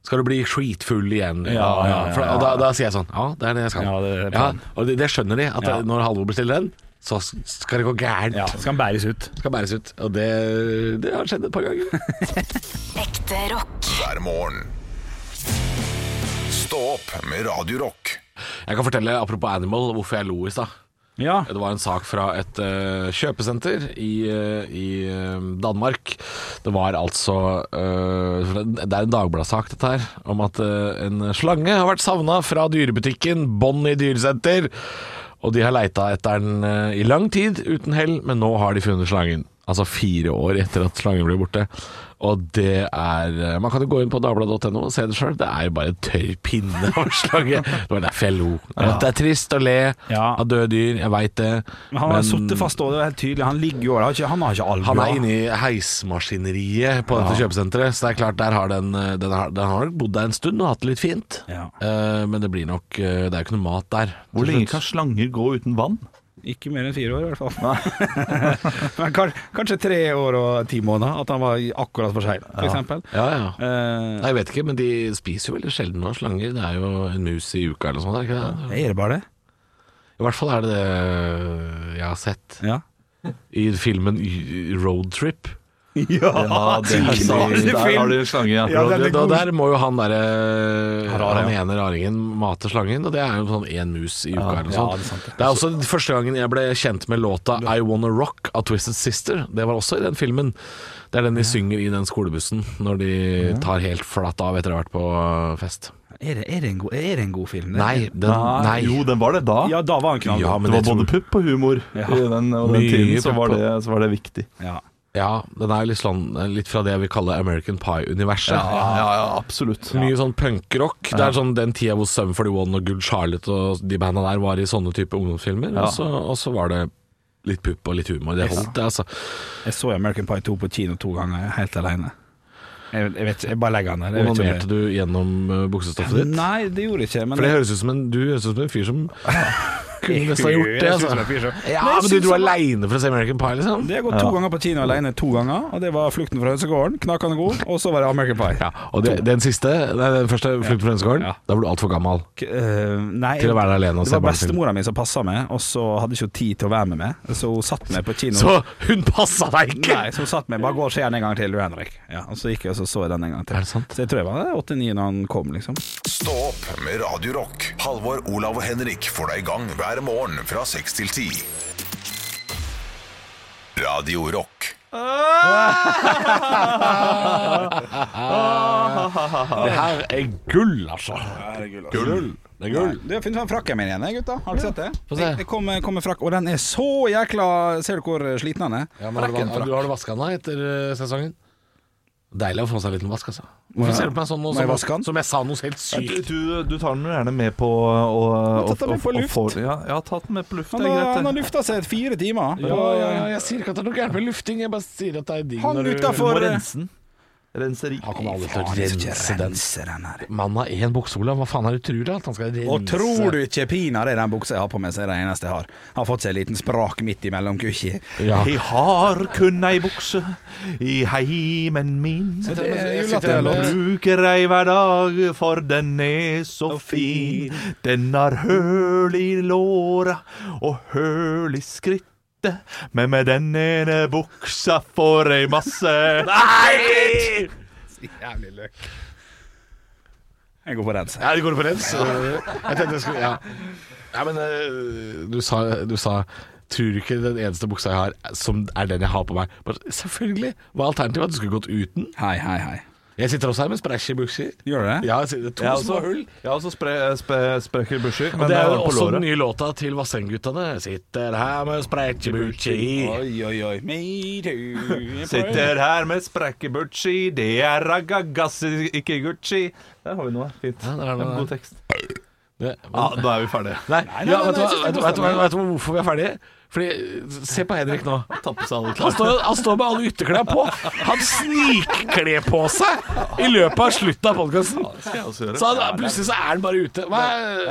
Speaker 3: skal du bli skitfull igjen?
Speaker 2: Ja, ja, ja,
Speaker 3: For, og da, da sier jeg sånn Ja, det er det jeg skal.
Speaker 2: Ja, det er
Speaker 3: Ja,
Speaker 2: planen.
Speaker 3: og det, det skjønner de, at
Speaker 2: Ja.
Speaker 3: når Halvor bestiller den, så s- skal det gå gærent
Speaker 2: Ja, skal han bæres ut.
Speaker 3: skal bæres ut. Og det, det har skjedd et par ganger.
Speaker 4: Ekte rock.
Speaker 5: hver morgen. Stå opp med Radio Rock.
Speaker 3: Jeg kan fortelle, apropos Animal, hvorfor jeg lo i stad.
Speaker 2: Ja.
Speaker 3: Det var en sak fra et eh, kjøpesenter i, eh, i eh, Danmark. Det var altså eh, Det er en Dagbladet-sak, dette her, om at eh, en slange har vært savna fra dyrebutikken Bonnie dyresenter. Og de har leita etter den eh, i lang tid, uten hell, men nå har de funnet slangen. Altså fire år etter at slangen ble borte. Og det er eh, Man kan jo gå inn på dagbladet.no og se det sjøl. Det er jo bare en tørr pinne av en slange. Det var derfor jeg lo. Det er trist å le
Speaker 2: Ja.
Speaker 3: av døde dyr, jeg veit det.
Speaker 2: Men Han har
Speaker 3: men
Speaker 2: sittet fast òg, det er helt tydelig. Han ligger jo der, han har ikke- han har ikke albuer.
Speaker 3: han er inne i heismaskineriet på dette kjøpesenteret, så det er klart der har den, eh, den, har, den har nok bodd der en stund og hatt det litt fint.
Speaker 2: Ja.
Speaker 3: Eh, men det blir nok eh, Det er jo ikke noe mat der.
Speaker 1: Hvor
Speaker 3: til
Speaker 1: lenge
Speaker 3: slutt.
Speaker 1: kan slanger gå uten vann?
Speaker 2: Ikke mer enn fire år, i hvert fall. Men kan- kanskje tre år og ti måneder, at han var i- akkurat for sein, for eksempel.
Speaker 3: Ja, ja.
Speaker 2: Eh,
Speaker 3: Nei, jeg vet ikke, men de spiser jo veldig sjelden noen slanger. Det er jo en mus i uka eller noe sånt. er det Ikke det?
Speaker 2: er det bare det?
Speaker 3: I hvert fall er det det jeg har sett
Speaker 2: Ja.
Speaker 3: i filmen Y- Road Trip.
Speaker 1: Ja, Ah, det er
Speaker 2: Hvilken annen
Speaker 1: Der har
Speaker 2: film?
Speaker 1: du en slange. Ja.
Speaker 2: Ja, den er
Speaker 3: Da,
Speaker 2: god.
Speaker 3: der må jo han derre
Speaker 2: Harare,
Speaker 3: Han
Speaker 2: ja.
Speaker 3: ene raringen mate slangen, og det er jo sånn én mus i uka eller noe
Speaker 2: ja,
Speaker 3: sånt.
Speaker 2: det er sant, det.
Speaker 3: Det er også den første gangen jeg ble kjent med låta I Wanna Rock av Twisted Sister. Det var også i den filmen. Det er den de synger i den skolebussen når de tar helt flatt av etter å ha vært på fest.
Speaker 2: Er det, er det, en, god, er det en god film? det?
Speaker 3: Nei, den, nei.
Speaker 1: Jo, den var det da.
Speaker 2: Ja, da var han knall.
Speaker 3: Ja, men
Speaker 1: det var
Speaker 3: jeg
Speaker 1: både
Speaker 3: tror-
Speaker 1: pupp og humor
Speaker 2: Ja.
Speaker 1: i den, og den
Speaker 3: Mye
Speaker 1: tiden, så
Speaker 3: pupp
Speaker 1: var,
Speaker 3: og-
Speaker 1: det, så var det viktig.
Speaker 2: Ja.
Speaker 3: Ja, den er jo litt, sånn, litt fra det jeg vil kalle American Pie-universet.
Speaker 1: absolutt.
Speaker 3: Mye sånn punkrock. Det er sånn den tida hvor Sum 41 og Good Charlotte og de banda der var i sånne type ungdomsfilmer. Og, så, og så var det litt pupp og litt humor. Det holdt, det, altså.
Speaker 2: Jeg så American Pie 2 på kino to ganger, jeg er helt alene. Jeg, jeg vet ikke, jeg bare legger den der. jeg vet ikke om
Speaker 3: Onanerte du gjennom eh, buksestoffet
Speaker 2: det-
Speaker 3: ditt?
Speaker 2: Nei, det gjorde jeg ikke. Men
Speaker 3: For det høres ut som en, du høres ut som en fyr som kunne nesten ha gjort det.
Speaker 2: Jeg synes det er fyr
Speaker 3: Altså.
Speaker 2: som-
Speaker 3: Ja,
Speaker 2: Men jeg
Speaker 3: men du
Speaker 2: synes
Speaker 3: dro
Speaker 2: han-
Speaker 3: aleine for å se American Pie, liksom?
Speaker 2: Det har gått to ganger på kino alene, to ganger. Og det var 'Flukten fra hønsegården', knakende god, og så var det 'American Pie'.
Speaker 3: Ja, og det, den siste, nei, den første, 'Flukt fra Hønsegården',
Speaker 2: Ja.
Speaker 3: da ble du altfor gammel.
Speaker 2: K- eh, nei,
Speaker 3: Til å være alene og
Speaker 2: det
Speaker 3: se
Speaker 2: var
Speaker 3: barnefilm.
Speaker 2: bestemora mi som passa meg, og så hadde ikke hun tid til å være med meg. Så hun satt meg på kino.
Speaker 3: Så hun passa deg ikke!
Speaker 2: Nei, så hun satt meg Bare gå og se den en gang til, du Henrik. Ja, og så gikk jeg og så, så jeg den en gang til.
Speaker 3: Er det sant?
Speaker 2: Så jeg tror jeg var åtte-ni når han kom, liksom.
Speaker 5: Stå opp med Radio Rock. Halvor, Olav og Henrik får deg i gang hver morgen fra 6 til 10. Radio Rock.
Speaker 3: Det her er gull, altså. Gull. Det er gull.
Speaker 2: Du har funnet fram frakken min igjen, eh, gutta. Har du sett det?
Speaker 3: få se.
Speaker 2: Det- Det kommer kom en frakk, og den er så jækla Ser du hvor eh, sliten den er?
Speaker 3: Ja, men har, du, har du vaska den da etter eh, sesongen? Deilig å få seg en liten vask,
Speaker 2: Må
Speaker 3: altså.
Speaker 2: jeg-
Speaker 3: Hvorfor ser du på meg sånn nå
Speaker 2: må jeg vaske
Speaker 3: som,
Speaker 2: den?
Speaker 3: som jeg sa noe helt
Speaker 1: Du,
Speaker 3: sykt?
Speaker 1: du, du tar den jo gjerne med på og, og,
Speaker 2: tatt den med på
Speaker 1: og- og
Speaker 2: luft.
Speaker 1: får- ja, jeg har tatt den med på luft.
Speaker 2: Han
Speaker 1: Det er
Speaker 2: har, han
Speaker 1: greit,
Speaker 2: har
Speaker 1: det.
Speaker 2: lufta seg fire timer.
Speaker 3: Ja, ja, ja, jeg sier ikke at det er noe gærent med lufting, jeg bare sier at det er digg
Speaker 2: Han
Speaker 3: når du
Speaker 1: Du må
Speaker 2: utenfor- for-
Speaker 1: rense den. Renseri.
Speaker 3: Han kommer aldri
Speaker 2: Faen,
Speaker 3: til å
Speaker 2: jeg skal
Speaker 3: rense
Speaker 2: ikke
Speaker 3: den.
Speaker 2: rense den her.
Speaker 3: Mann har én bukse, Olav. Hva faen er det du tror da? At han skal rense
Speaker 2: Og tror du ikke pinadø den buksa jeg har på meg, så er det eneste jeg har. Jeg har fått seg en liten sprak midt imellom kukki.
Speaker 3: ja.
Speaker 1: Jeg har kun ei bukse i heimen min.
Speaker 3: Det
Speaker 2: er jo
Speaker 3: sitter
Speaker 2: latterlig.
Speaker 3: med-
Speaker 1: Bruker ei hver dag, for den er så fin. Den har høl i låra og høl i skrittet. Men med den ene buksa får jeg masse Nei!
Speaker 2: Jævlig løk. Jeg går på rens.
Speaker 3: Ja, det går på rens. Jeg tenkte jeg skulle Ja, ja men eh, du sa, du sa Tror du ikke den eneste buksa jeg har, som er den jeg har på meg? Bare, selvfølgelig! Hva er alternativet? At du skulle gått uten?
Speaker 2: Hei, hei, hei.
Speaker 3: Jeg sitter også her med spræsje bukser.
Speaker 2: Gjør du det?
Speaker 3: Ja, jeg sitter- to
Speaker 1: Jeg har
Speaker 3: små
Speaker 1: også,
Speaker 3: hull.
Speaker 1: jeg har også spre, spre, sprekker busher.
Speaker 3: Og
Speaker 1: altså. Men eh,
Speaker 3: det er jo
Speaker 1: på
Speaker 3: også den
Speaker 1: låret.
Speaker 3: nye låta til Vassendguttene. Sitter her med sprækjebuchi.
Speaker 2: Oi, oi, oi. Me too.
Speaker 1: Sitter her med sprekkebuchi, det er ragagassi, ikke Gucci. Der har vi noe. Fint.
Speaker 3: Ja, der
Speaker 1: Det er
Speaker 3: er noe.
Speaker 1: en God tekst.
Speaker 3: Ja, men-
Speaker 1: Ja, da er vi ferdige.
Speaker 3: Nei,
Speaker 2: nei,
Speaker 3: ja,
Speaker 2: nei,
Speaker 3: vet du
Speaker 2: jeg
Speaker 3: hva-
Speaker 2: synes det er
Speaker 3: vet du- vet du hva- vet du hvorfor vi er ferdige? Fordi, se på Henrik nå.
Speaker 1: Tappe seg alle
Speaker 3: Han
Speaker 1: klær.
Speaker 3: står, han står med alle ytterklær på. Han snikkler på seg i løpet av slutten av podkasten.
Speaker 1: Skal jeg også gjøre.
Speaker 3: Så han, plutselig så er han bare ute. Hva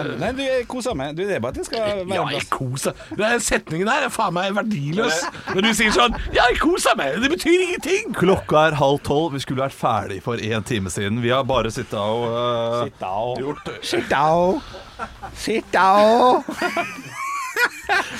Speaker 3: er
Speaker 2: Nei, du jeg koser meg. Du, det er bare at jeg skal være
Speaker 3: ja,
Speaker 2: en
Speaker 3: jeg
Speaker 2: plass.
Speaker 3: koser Den setningen der er faen meg verdiløs. Når du sier sånn Ja, jeg koser meg. Det betyr ingenting.
Speaker 1: Klokka er halv tolv. Vi skulle vært ferdig for én time siden. Vi har bare sittet og eh,
Speaker 2: Sit down. Sit down.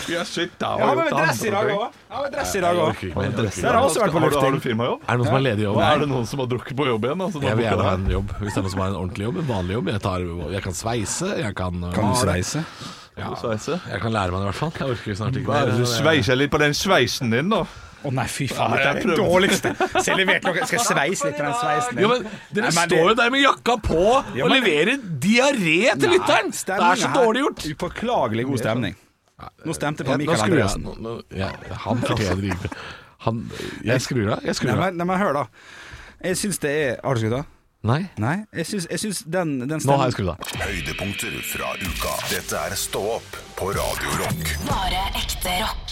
Speaker 1: Vi har sittet og
Speaker 2: Jeg har med
Speaker 1: gjort
Speaker 2: meg dress
Speaker 1: andre
Speaker 2: i dag
Speaker 1: ting.
Speaker 2: òg. Jeg har med dress i dag også.
Speaker 3: Er
Speaker 1: Men dress i
Speaker 2: Der har
Speaker 1: dag,
Speaker 2: også
Speaker 1: skal-
Speaker 2: vært på
Speaker 1: har du- Har du
Speaker 2: lufting.
Speaker 1: firmajobb?
Speaker 3: det noen som er ledig i år?
Speaker 1: Er det noen som har drukket på jobb igjen? Altså, da
Speaker 3: Jeg vil
Speaker 1: må
Speaker 3: gjerne
Speaker 1: dere-
Speaker 3: ha en jobb. Hvis det er noen som har en ordentlig jobb, en vanlig jobb. Jeg, tar, jeg kan sveise, jeg kan
Speaker 2: Kan du
Speaker 3: male.
Speaker 2: sveise?
Speaker 3: Ja,
Speaker 1: Kan du sveise?
Speaker 3: jeg kan lære meg det i hvert fall. Jeg orker snart ikke
Speaker 1: Hva er det du sveiser litt på den sveisen din, da?
Speaker 2: Å nei, fy faen.
Speaker 1: Nei,
Speaker 2: Det er
Speaker 1: jeg
Speaker 2: det
Speaker 1: prøvde.
Speaker 2: dårligste. Selv levert noe. Skal jeg sveise litt på den sveisen?
Speaker 3: Jo, men Dere
Speaker 2: Nei, men det-
Speaker 3: står jo der med jakka på
Speaker 2: Ja,
Speaker 3: og
Speaker 2: men-
Speaker 3: leverer diaré til lytteren! Det er så dårlig gjort.
Speaker 2: Upåklagelig god stemning. Nå stemte jeg på
Speaker 3: Jeg, nå
Speaker 2: Mikael
Speaker 3: skrur jeg
Speaker 2: Andreassen.
Speaker 3: nå, nå, jeg, Han fortjener ikke han, Jeg skrur av. Jeg
Speaker 2: Nei,
Speaker 3: skrur av.
Speaker 2: men, nei, men hør, da. Jeg syns det er Har du skrudd av?
Speaker 3: Nei,
Speaker 2: Nei, jeg syns, jeg syns den, den
Speaker 3: nå har
Speaker 2: stemmen-
Speaker 3: jeg skrudd av.
Speaker 5: Høydepunkter fra uka. Dette er Stå opp på Radio Rock.
Speaker 4: Bare ekte rock.